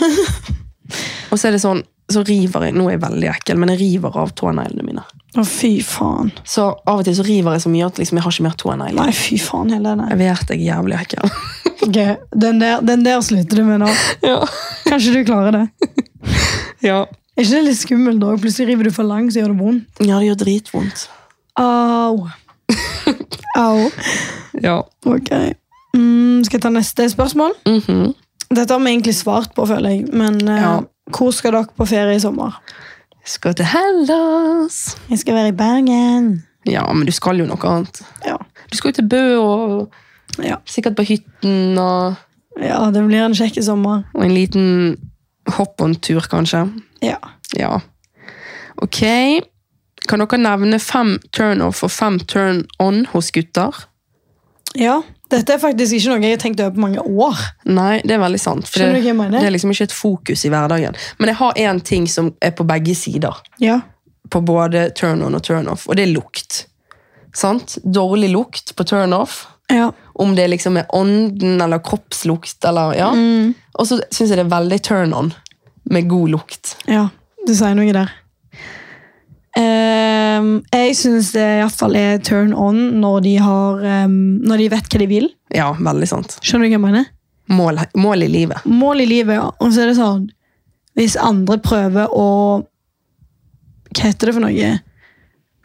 S2: Og så er det sånn, så river jeg, nå er jeg veldig ekkel, men jeg river av tåneglene mine.
S1: Å, fy faen.
S2: Så av og til så river jeg så mye at liksom, jeg har ikke mer tånegler.
S1: Nei, fy faen, Helene.
S2: Jeg vet jeg er jævlig ekkel.
S1: Ok, Den der, den der slutter du med nå.
S2: ja.
S1: Kanskje du klarer det.
S2: ja.
S1: Er ikke det litt skummelt da? Plutselig river du for langt, så gjør det vondt.
S2: Ja, det gjør dritvondt.
S1: Au. Au.
S2: Ja.
S1: Ok. Mm, skal jeg ta neste spørsmål?
S2: Mhm.
S1: Dette har vi egentlig svart på, føler jeg. Men eh,
S2: Ja.
S1: hvor skal dere på ferie i sommer?
S2: Skal til Hellas.
S1: Jeg skal være i Bergen.
S2: Ja, men du skal jo noe annet.
S1: Ja.
S2: Du skal jo til Bø, og
S1: Ja.
S2: sikkert på hytten, og,
S1: Ja, det blir en kjekk sommer.
S2: og en liten hopp-on-tur, kanskje.
S1: Ja.
S2: Ja. Ok. Kan dere nevne fem turn-off og fem turn-on hos gutter?
S1: ja. Dette er faktisk ikke noe jeg har tenkt over på mange år.
S2: Nei, det er veldig sant. For
S1: Skjønner du
S2: det,
S1: hva jeg mener?
S2: det er liksom ikke et fokus i hverdagen. Men jeg har én ting som er på begge sider.
S1: Ja.
S2: På både turn-on og turn-off, og det er lukt. Sant? Dårlig lukt på turn-off.
S1: Ja.
S2: Om det liksom er ånden eller kroppslukt eller ja.
S1: Mm.
S2: Og så syns jeg det er veldig turn-on med god lukt.
S1: ja. Du sier noe der. Ehm, jeg syns det iallfall er turn on når de, har, ehm, når de vet hva de vil.
S2: Ja, veldig sant.
S1: Skjønner du hva jeg mener?
S2: Mål, mål i livet.
S1: mål i livet, ja. Og så er det sånn Hvis andre prøver å Hva heter det for noe?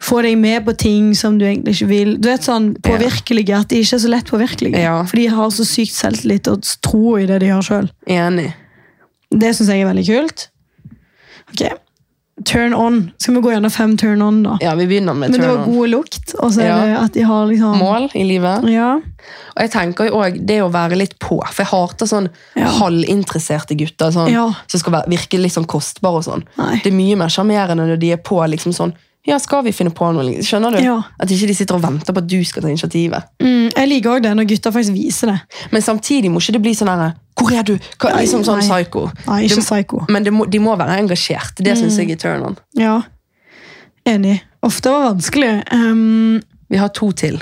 S1: Få deg med på ting som du egentlig ikke vil. Du vet sånn påvirkelige, At de ikke er så lett påvirkelige.
S2: Ja.
S1: For de har så sykt selvtillit og tro i det de gjør sjøl.
S2: Enig.
S1: Det syns jeg er veldig kult. Ok, Turn on. Skal vi gå gjennom fem turn on, da?
S2: Ja, vi begynner med
S1: Men det
S2: turn-on.
S1: var god lukt, og så er
S2: Ja.
S1: det at de har liksom
S2: mål i livet.
S1: Ja.
S2: Og jeg tenker jo også det å være litt på, for jeg hater sånn
S1: Ja.
S2: halvinteresserte gutter sånn,
S1: Ja.
S2: som skal være, virke litt sånn kostbare og sånn.
S1: Nei.
S2: Det er mye mer sjarmerende når de er på liksom sånn Ja, skal vi finne på noe? liksom? Skjønner du?
S1: Ja.
S2: At ikke de sitter og venter på at du skal ta initiativet.
S1: Mm, jeg liker òg det når gutter faktisk viser det.
S2: Men samtidig må ikke det bli sånn herre Hvor er du? Hva,
S1: Nei,
S2: liksom sånn
S1: nei.
S2: psycho.
S1: Nei,
S2: Det
S1: ikke
S2: må-
S1: psyko.
S2: Men det må, de må være engasjert.
S1: Mm.
S2: Det syns jeg er turn on.
S1: Ja, enig. Ofte var det vanskelig. Ehm,
S2: Vi har to til.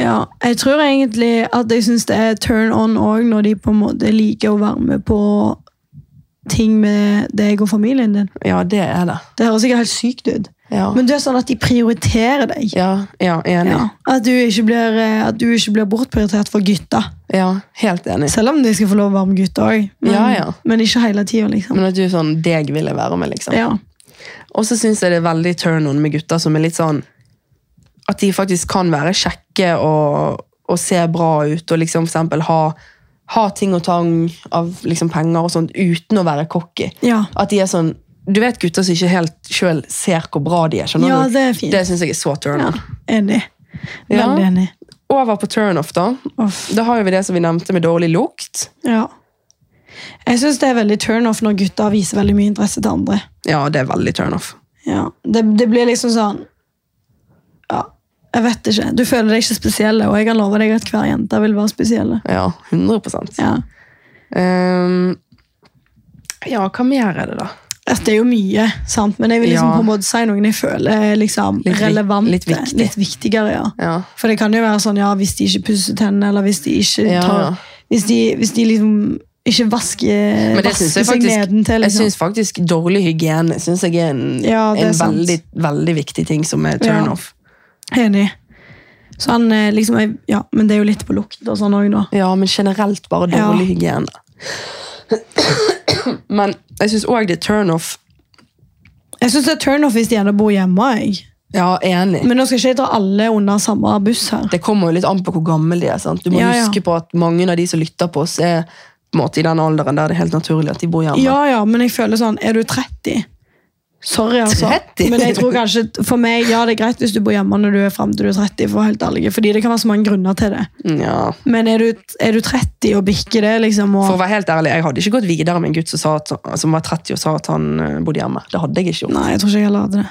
S1: ja, jeg tror egentlig at jeg syns det er turn on òg, når de på en måte liker å være med på ting med deg og familien din.
S2: Ja, det er det.
S1: Det høres sikkert helt sykt ut,
S2: Ja,
S1: men det er sånn at de prioriterer deg.
S2: ja, ja enig. Ja.
S1: Ja, at, du ikke blir, eh, at du ikke blir bortprioritert for gutta.
S2: helt enig.
S1: Selv om de skal få lov å være med gutta òg, men,
S2: Ja, ja.
S1: men ikke hele tida, liksom.
S2: Men at du er sånn Deg vil jeg være med, liksom.
S1: Ja.
S2: Og så syns jeg det er veldig turn-on med gutter som er litt sånn At de faktisk kan være kjekke og, og se bra ut, og liksom for eksempel ha, ha ting og tang av liksom penger og sånt uten å være cocky.
S1: Ja.
S2: At de er sånn Du vet gutter som ikke helt sjøl ser hvor bra de er. skjønner
S1: ja,
S2: du?
S1: det er fint.
S2: Det syns jeg er så
S1: Ja,
S2: turn-on.
S1: enig.
S2: Ja.
S1: Veldig enig.
S2: Over på turn-off, da.
S1: Uff.
S2: Da har jo vi det som vi nevnte med dårlig lukt.
S1: Ja. Jeg syns det er veldig turn-off når gutter viser veldig mye interesse til andre.
S2: Ja, det er veldig turn-off.
S1: Ja. Det, det blir liksom sånn Ja, jeg vet ikke. Du føler deg ikke spesiell, og jeg kan love deg at hver jente vil være spesiell.
S2: Ja, 100
S1: Ja.
S2: Ehm, Ja, hva mer er det, da?
S1: Altså, det er jo mye, sant? men jeg vil liksom
S2: Ja.
S1: på en måte si noen jeg føler er liksom
S2: Litt vik-
S1: relevante.
S2: litt viktig.
S1: litt viktigere, ja.
S2: Ja.
S1: For det kan jo være sånn, ja, hvis de ikke pusser tennene, eller hvis de ikke
S2: Ja,
S1: tar
S2: ja.
S1: Hvis, de, hvis de liksom ikke vasker,
S2: Men det
S1: vasker
S2: synes jeg
S1: seg
S2: faktisk-
S1: nedentil.
S2: Jeg
S1: Liksom.
S2: syns faktisk dårlig hygiene synes jeg er en,
S1: Ja, det er
S2: en
S1: sant.
S2: veldig, veldig viktig ting som er
S1: Ja.
S2: turnoff.
S1: Enig. Så han eh, liksom jeg- Ja, men det er jo litt på lukt og sånn òg, da.
S2: Ja. men generelt bare dårlig hygiene. men jeg syns òg det er turnoff.
S1: Jeg syns det er turnoff hvis de ennå bor hjemme. Jeg.
S2: Ja, enig.
S1: Men nå skal ikke jeg dra alle under samme buss her.
S2: det kommer jo litt an på hvor gammel de er. sant? Du må
S1: Ja, ja.
S2: huske på at mange av de som lytter på oss, er på en måte i den alderen der det er helt naturlig at de bor hjemme.
S1: Ja, ja, men jeg føler sånn Er du 30? Sorry, altså.
S2: 30?
S1: Men jeg tror kanskje For meg, ja, det er greit hvis du bor hjemme når du er frem til du er 30, for å være helt ærlig. Fordi det kan være så mange grunner til det.
S2: Mm, Ja.
S1: Men er du, er du 30 og bikker det, liksom,
S2: For
S1: og
S2: å være helt ærlig, Jeg hadde ikke gått videre med en gutt som, sa at, som var 30 og sa at han eh, bodde hjemme. Det hadde jeg ikke gjort.
S1: Nei, jeg tror ikke jeg heller hadde det.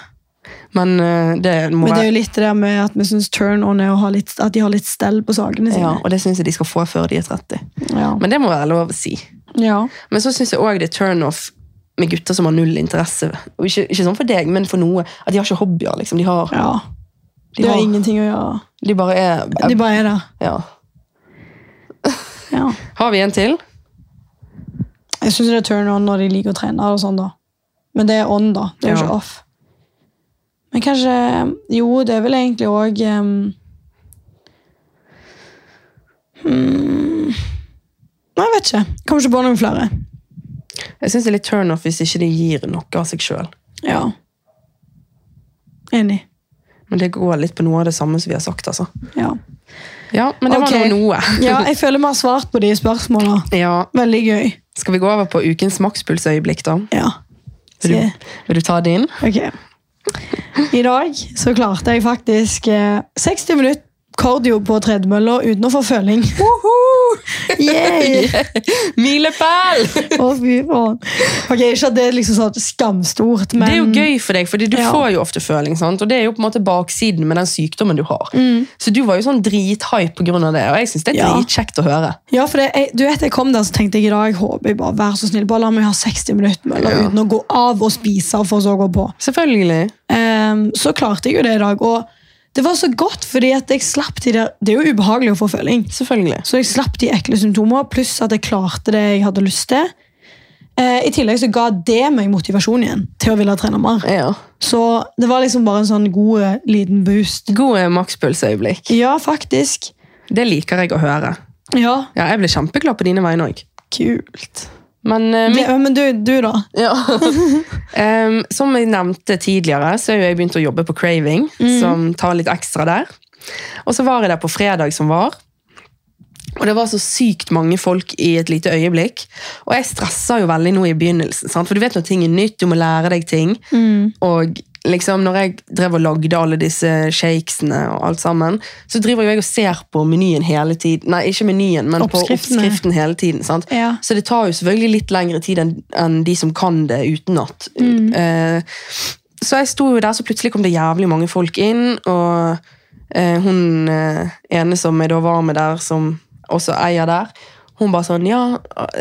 S2: Men eh, det må
S1: Men det er
S2: være
S1: jo litt det der med at vi syns turn-on er å ha litt, at de har litt stell på sakene
S2: ja,
S1: sine.
S2: Og det syns jeg de skal få før de er 30.
S1: Ja.
S2: Men det må være lov å si.
S1: ja.
S2: Men så syns jeg òg det er turn-off med gutter som har null interesse. Og Ikke, ikke sånn for deg, men for noe. At de har ikke hobbyer. liksom. De, har,
S1: ja.
S2: de,
S1: Det har
S2: har,
S1: ingenting å gjøre.
S2: de bare er
S1: De bare er der.
S2: ja.
S1: Ja.
S2: Har vi en til?
S1: Jeg syns det er turn-on når de liker å trene og sånn, da. Men det er on, da. Det er jo
S2: Ja.
S1: ikke off. Men kanskje Jo, det er vel egentlig òg um, hmm. Nei, jeg vet ikke. Kommer ikke på noen flere.
S2: Jeg syns det er litt turn-off hvis ikke de gir noe av seg sjøl.
S1: Ja. Enig.
S2: Men det går litt på noe av det samme som vi har sagt, altså.
S1: Ja.
S2: Ja, men det
S1: Ok.
S2: var nå noe.
S1: ja, jeg føler vi har svart på de spørsmåla.
S2: Ja,
S1: Veldig gøy.
S2: Skal vi gå over på ukens makspulsøyeblikk, da?
S1: Ja.
S2: Vil
S1: Skal-
S2: du, vil du ta din?
S1: Ok. I dag så klarte jeg faktisk eh, 60 minutter kardio på tredemølla uten å få føling. Yay!
S2: Milepæl!
S1: Å, fy faen. Ok, Ikke at det er liksom sånn skamstort, men
S2: Det er jo gøy for deg, fordi du
S1: Ja.
S2: får jo ofte føling. sant? Og det er jo på en måte baksiden med den sykdommen du har. Så du var jo sånn drithype på grunn av det, og jeg syns det er
S1: Ja.
S2: dritkjekt å høre.
S1: Ja, for det, jeg, du vet, jeg kom der så tenkte jeg i dag håper jeg bare, vær så snill, bare la meg ha 60 minutter mølla
S2: Ja.
S1: uten å gå av og spise, for så å gå på.
S2: Selvfølgelig.
S1: Ehm, så klarte jeg jo det i dag. Og det var så godt, fordi at jeg slapp de der Det er jo ubehagelig å få føling.
S2: Selvfølgelig.
S1: Så jeg slapp de ekle symptomer, pluss at jeg klarte det jeg hadde lyst til. Eh, I tillegg så ga det meg motivasjon igjen til å ville trene mer.
S2: Ja.
S1: Så det var liksom bare en sånn god eh, liten boost.
S2: Gode eh, makspulsøyeblikk.
S1: Ja, faktisk.
S2: Det liker jeg å høre.
S1: Ja,
S2: Ja, jeg ble kjempeglad på dine vegne òg.
S1: kult.
S2: Men eh,
S1: Det, men du, du da?
S2: Ja. Em, som jeg nevnte tidligere, så har jo jeg begynt å jobbe på Craving,
S1: Mm.
S2: som tar litt ekstra der. Og så var jeg der på fredag som var. Og det var så sykt mange folk i et lite øyeblikk. Og jeg stressa jo veldig nå i begynnelsen, sant? for du vet når ting er nytt, du må lære deg ting.
S1: Mm.
S2: Og liksom når jeg drev og lagde alle disse shakesene og alt sammen, så driver jo jeg og ser på menyen hele tiden. Nei, ikke menyen, men
S1: Oppskriftene.
S2: på oppskriften hele tiden. sant?
S1: Ja.
S2: Så det tar jo selvfølgelig litt lengre tid enn enn de som kan det utenat. Eh, så jeg sto jo der, så plutselig kom det jævlig mange folk inn, og eh, hun eh, ene som jeg da var med der, som også eier der, hun bare sånn, ja,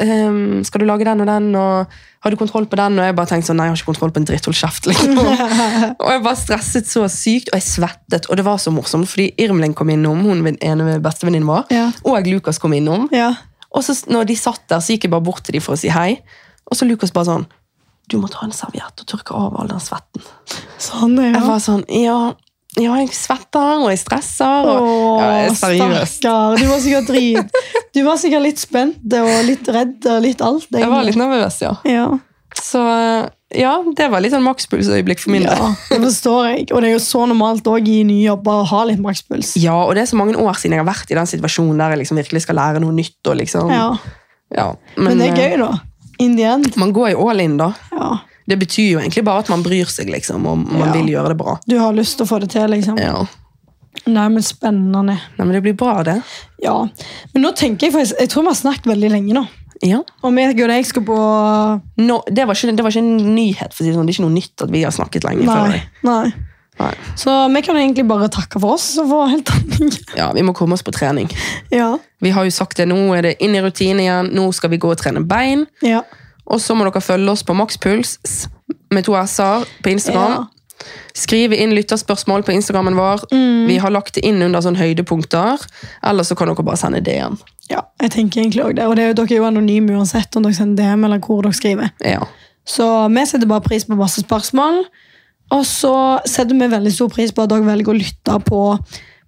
S2: ehm, skal du lage den og den, og har du kontroll på den? Og jeg bare tenkte sånn, nei, jeg har ikke kontroll på en dritt, hold kjeft, liksom. og jeg bare stresset så sykt, og jeg svettet, og det var så morsomt, fordi Irmling kom innom, hun min ene bestevenninne vår,
S1: Ja.
S2: og Lukas kom innom,
S1: Ja.
S2: og så s- når de satt der, så gikk jeg bare bort til dem for å si hei. Og så Lukas bare sånn Du må ta en serviett og tørke av all den svetten.
S1: Sånn, ja.
S2: Jeg var sånn Ja, ja jeg svetter, og jeg stresser, og
S1: Åh,
S2: ja, jeg er seriøst.
S1: stakkar. Du var sikkert drit. Du var sikkert litt spent og litt redd og litt alt.
S2: Jeg var
S1: egentlig.
S2: litt nervøs, ja.
S1: ja.
S2: Så ja, det var litt sånn makspulsøyeblikk for min del.
S1: ja, det forstår jeg. Og det er jo så normalt òg i nye jobber å ha litt makspuls.
S2: Ja, og det er så mange år siden jeg har vært i den situasjonen der jeg liksom virkelig skal lære noe nytt. og liksom...
S1: Ja.
S2: Ja,
S1: Men det er
S2: eh,
S1: gøy, da. In the end.
S2: Man går jo all in, da.
S1: Ja.
S2: Det betyr jo egentlig bare at man bryr seg, liksom, og man
S1: Ja.
S2: vil gjøre det bra.
S1: Du har lyst til å få det til, liksom.
S2: Ja.
S1: Nei, men spennende.
S2: Nei, men det blir bra, det.
S1: Ja. Men nå tenker jeg faktisk Jeg tror vi har snakket veldig lenge nå.
S2: Ja.
S1: Og meg og deg skal på
S2: Nå- det, var ikke, det var ikke en nyhet, for å si det sånn. Det er ikke noe nytt at vi har snakket lenge. før
S1: Nei.
S2: deg.
S1: Nei.
S2: Nei.
S1: Så vi kan egentlig bare takke for oss og få helt annet.
S2: Ja, Vi må komme oss på trening.
S1: Ja.
S2: Vi har jo sagt det, Nå er det inn i rutinen igjen. Nå skal vi gå og trene bein.
S1: ja.
S2: Og så må dere følge oss på makspuls med to s-er på Instagram. Skriv inn lytterspørsmål på Instagrammen vår. Vi har lagt det inn under sånn høydepunkter. Eller så kan dere bare sende DM.
S1: Ja, jeg tenker egentlig også det. Og det er jo, dere er jo anonyme uansett om dere sender DM eller hvor dere skriver.
S2: Ja.
S1: Så vi setter bare pris på masse spørsmål. Og så setter vi veldig stor pris på at dere velger å lytte på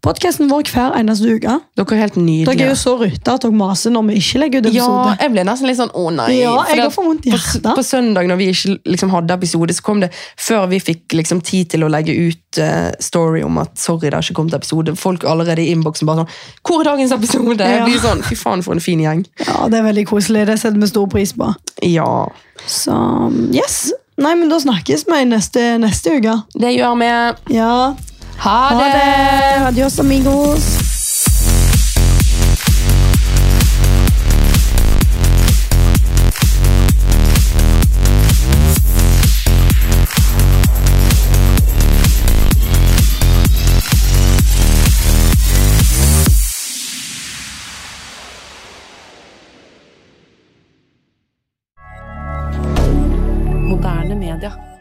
S1: podkasten vår hver eneste uke.
S2: Dere er helt
S1: Dere er jo
S2: nydelige.
S1: så ruta at dere maser når vi ikke legger ut
S2: Ja,
S1: episode.
S2: jeg ble nesten litt sånn å nei.
S1: Ja,
S2: For
S1: jeg
S2: det-
S1: har for vondt i
S2: på, s-
S1: hjertet.
S2: på søndag når vi ikke liksom, hadde episode, så kom det før vi fikk liksom, tid til å legge ut eh, story om at sorry, det har ikke kommet episode. Folk allerede i innboksen bare sånn Hvor er dagens episode?
S1: Ja.
S2: Jeg blir sånn, Fy faen, for en fin gjeng.
S1: Ja, Det er veldig koselig. Det setter vi stor pris på.
S2: Ja.
S1: Så yes. Nei, men da snakkes vi neste, neste uke.
S2: Det gjør vi.
S1: Ja.
S2: Ha
S1: Ha
S2: det!
S1: det! Adios, amigos.
S3: Moderne media.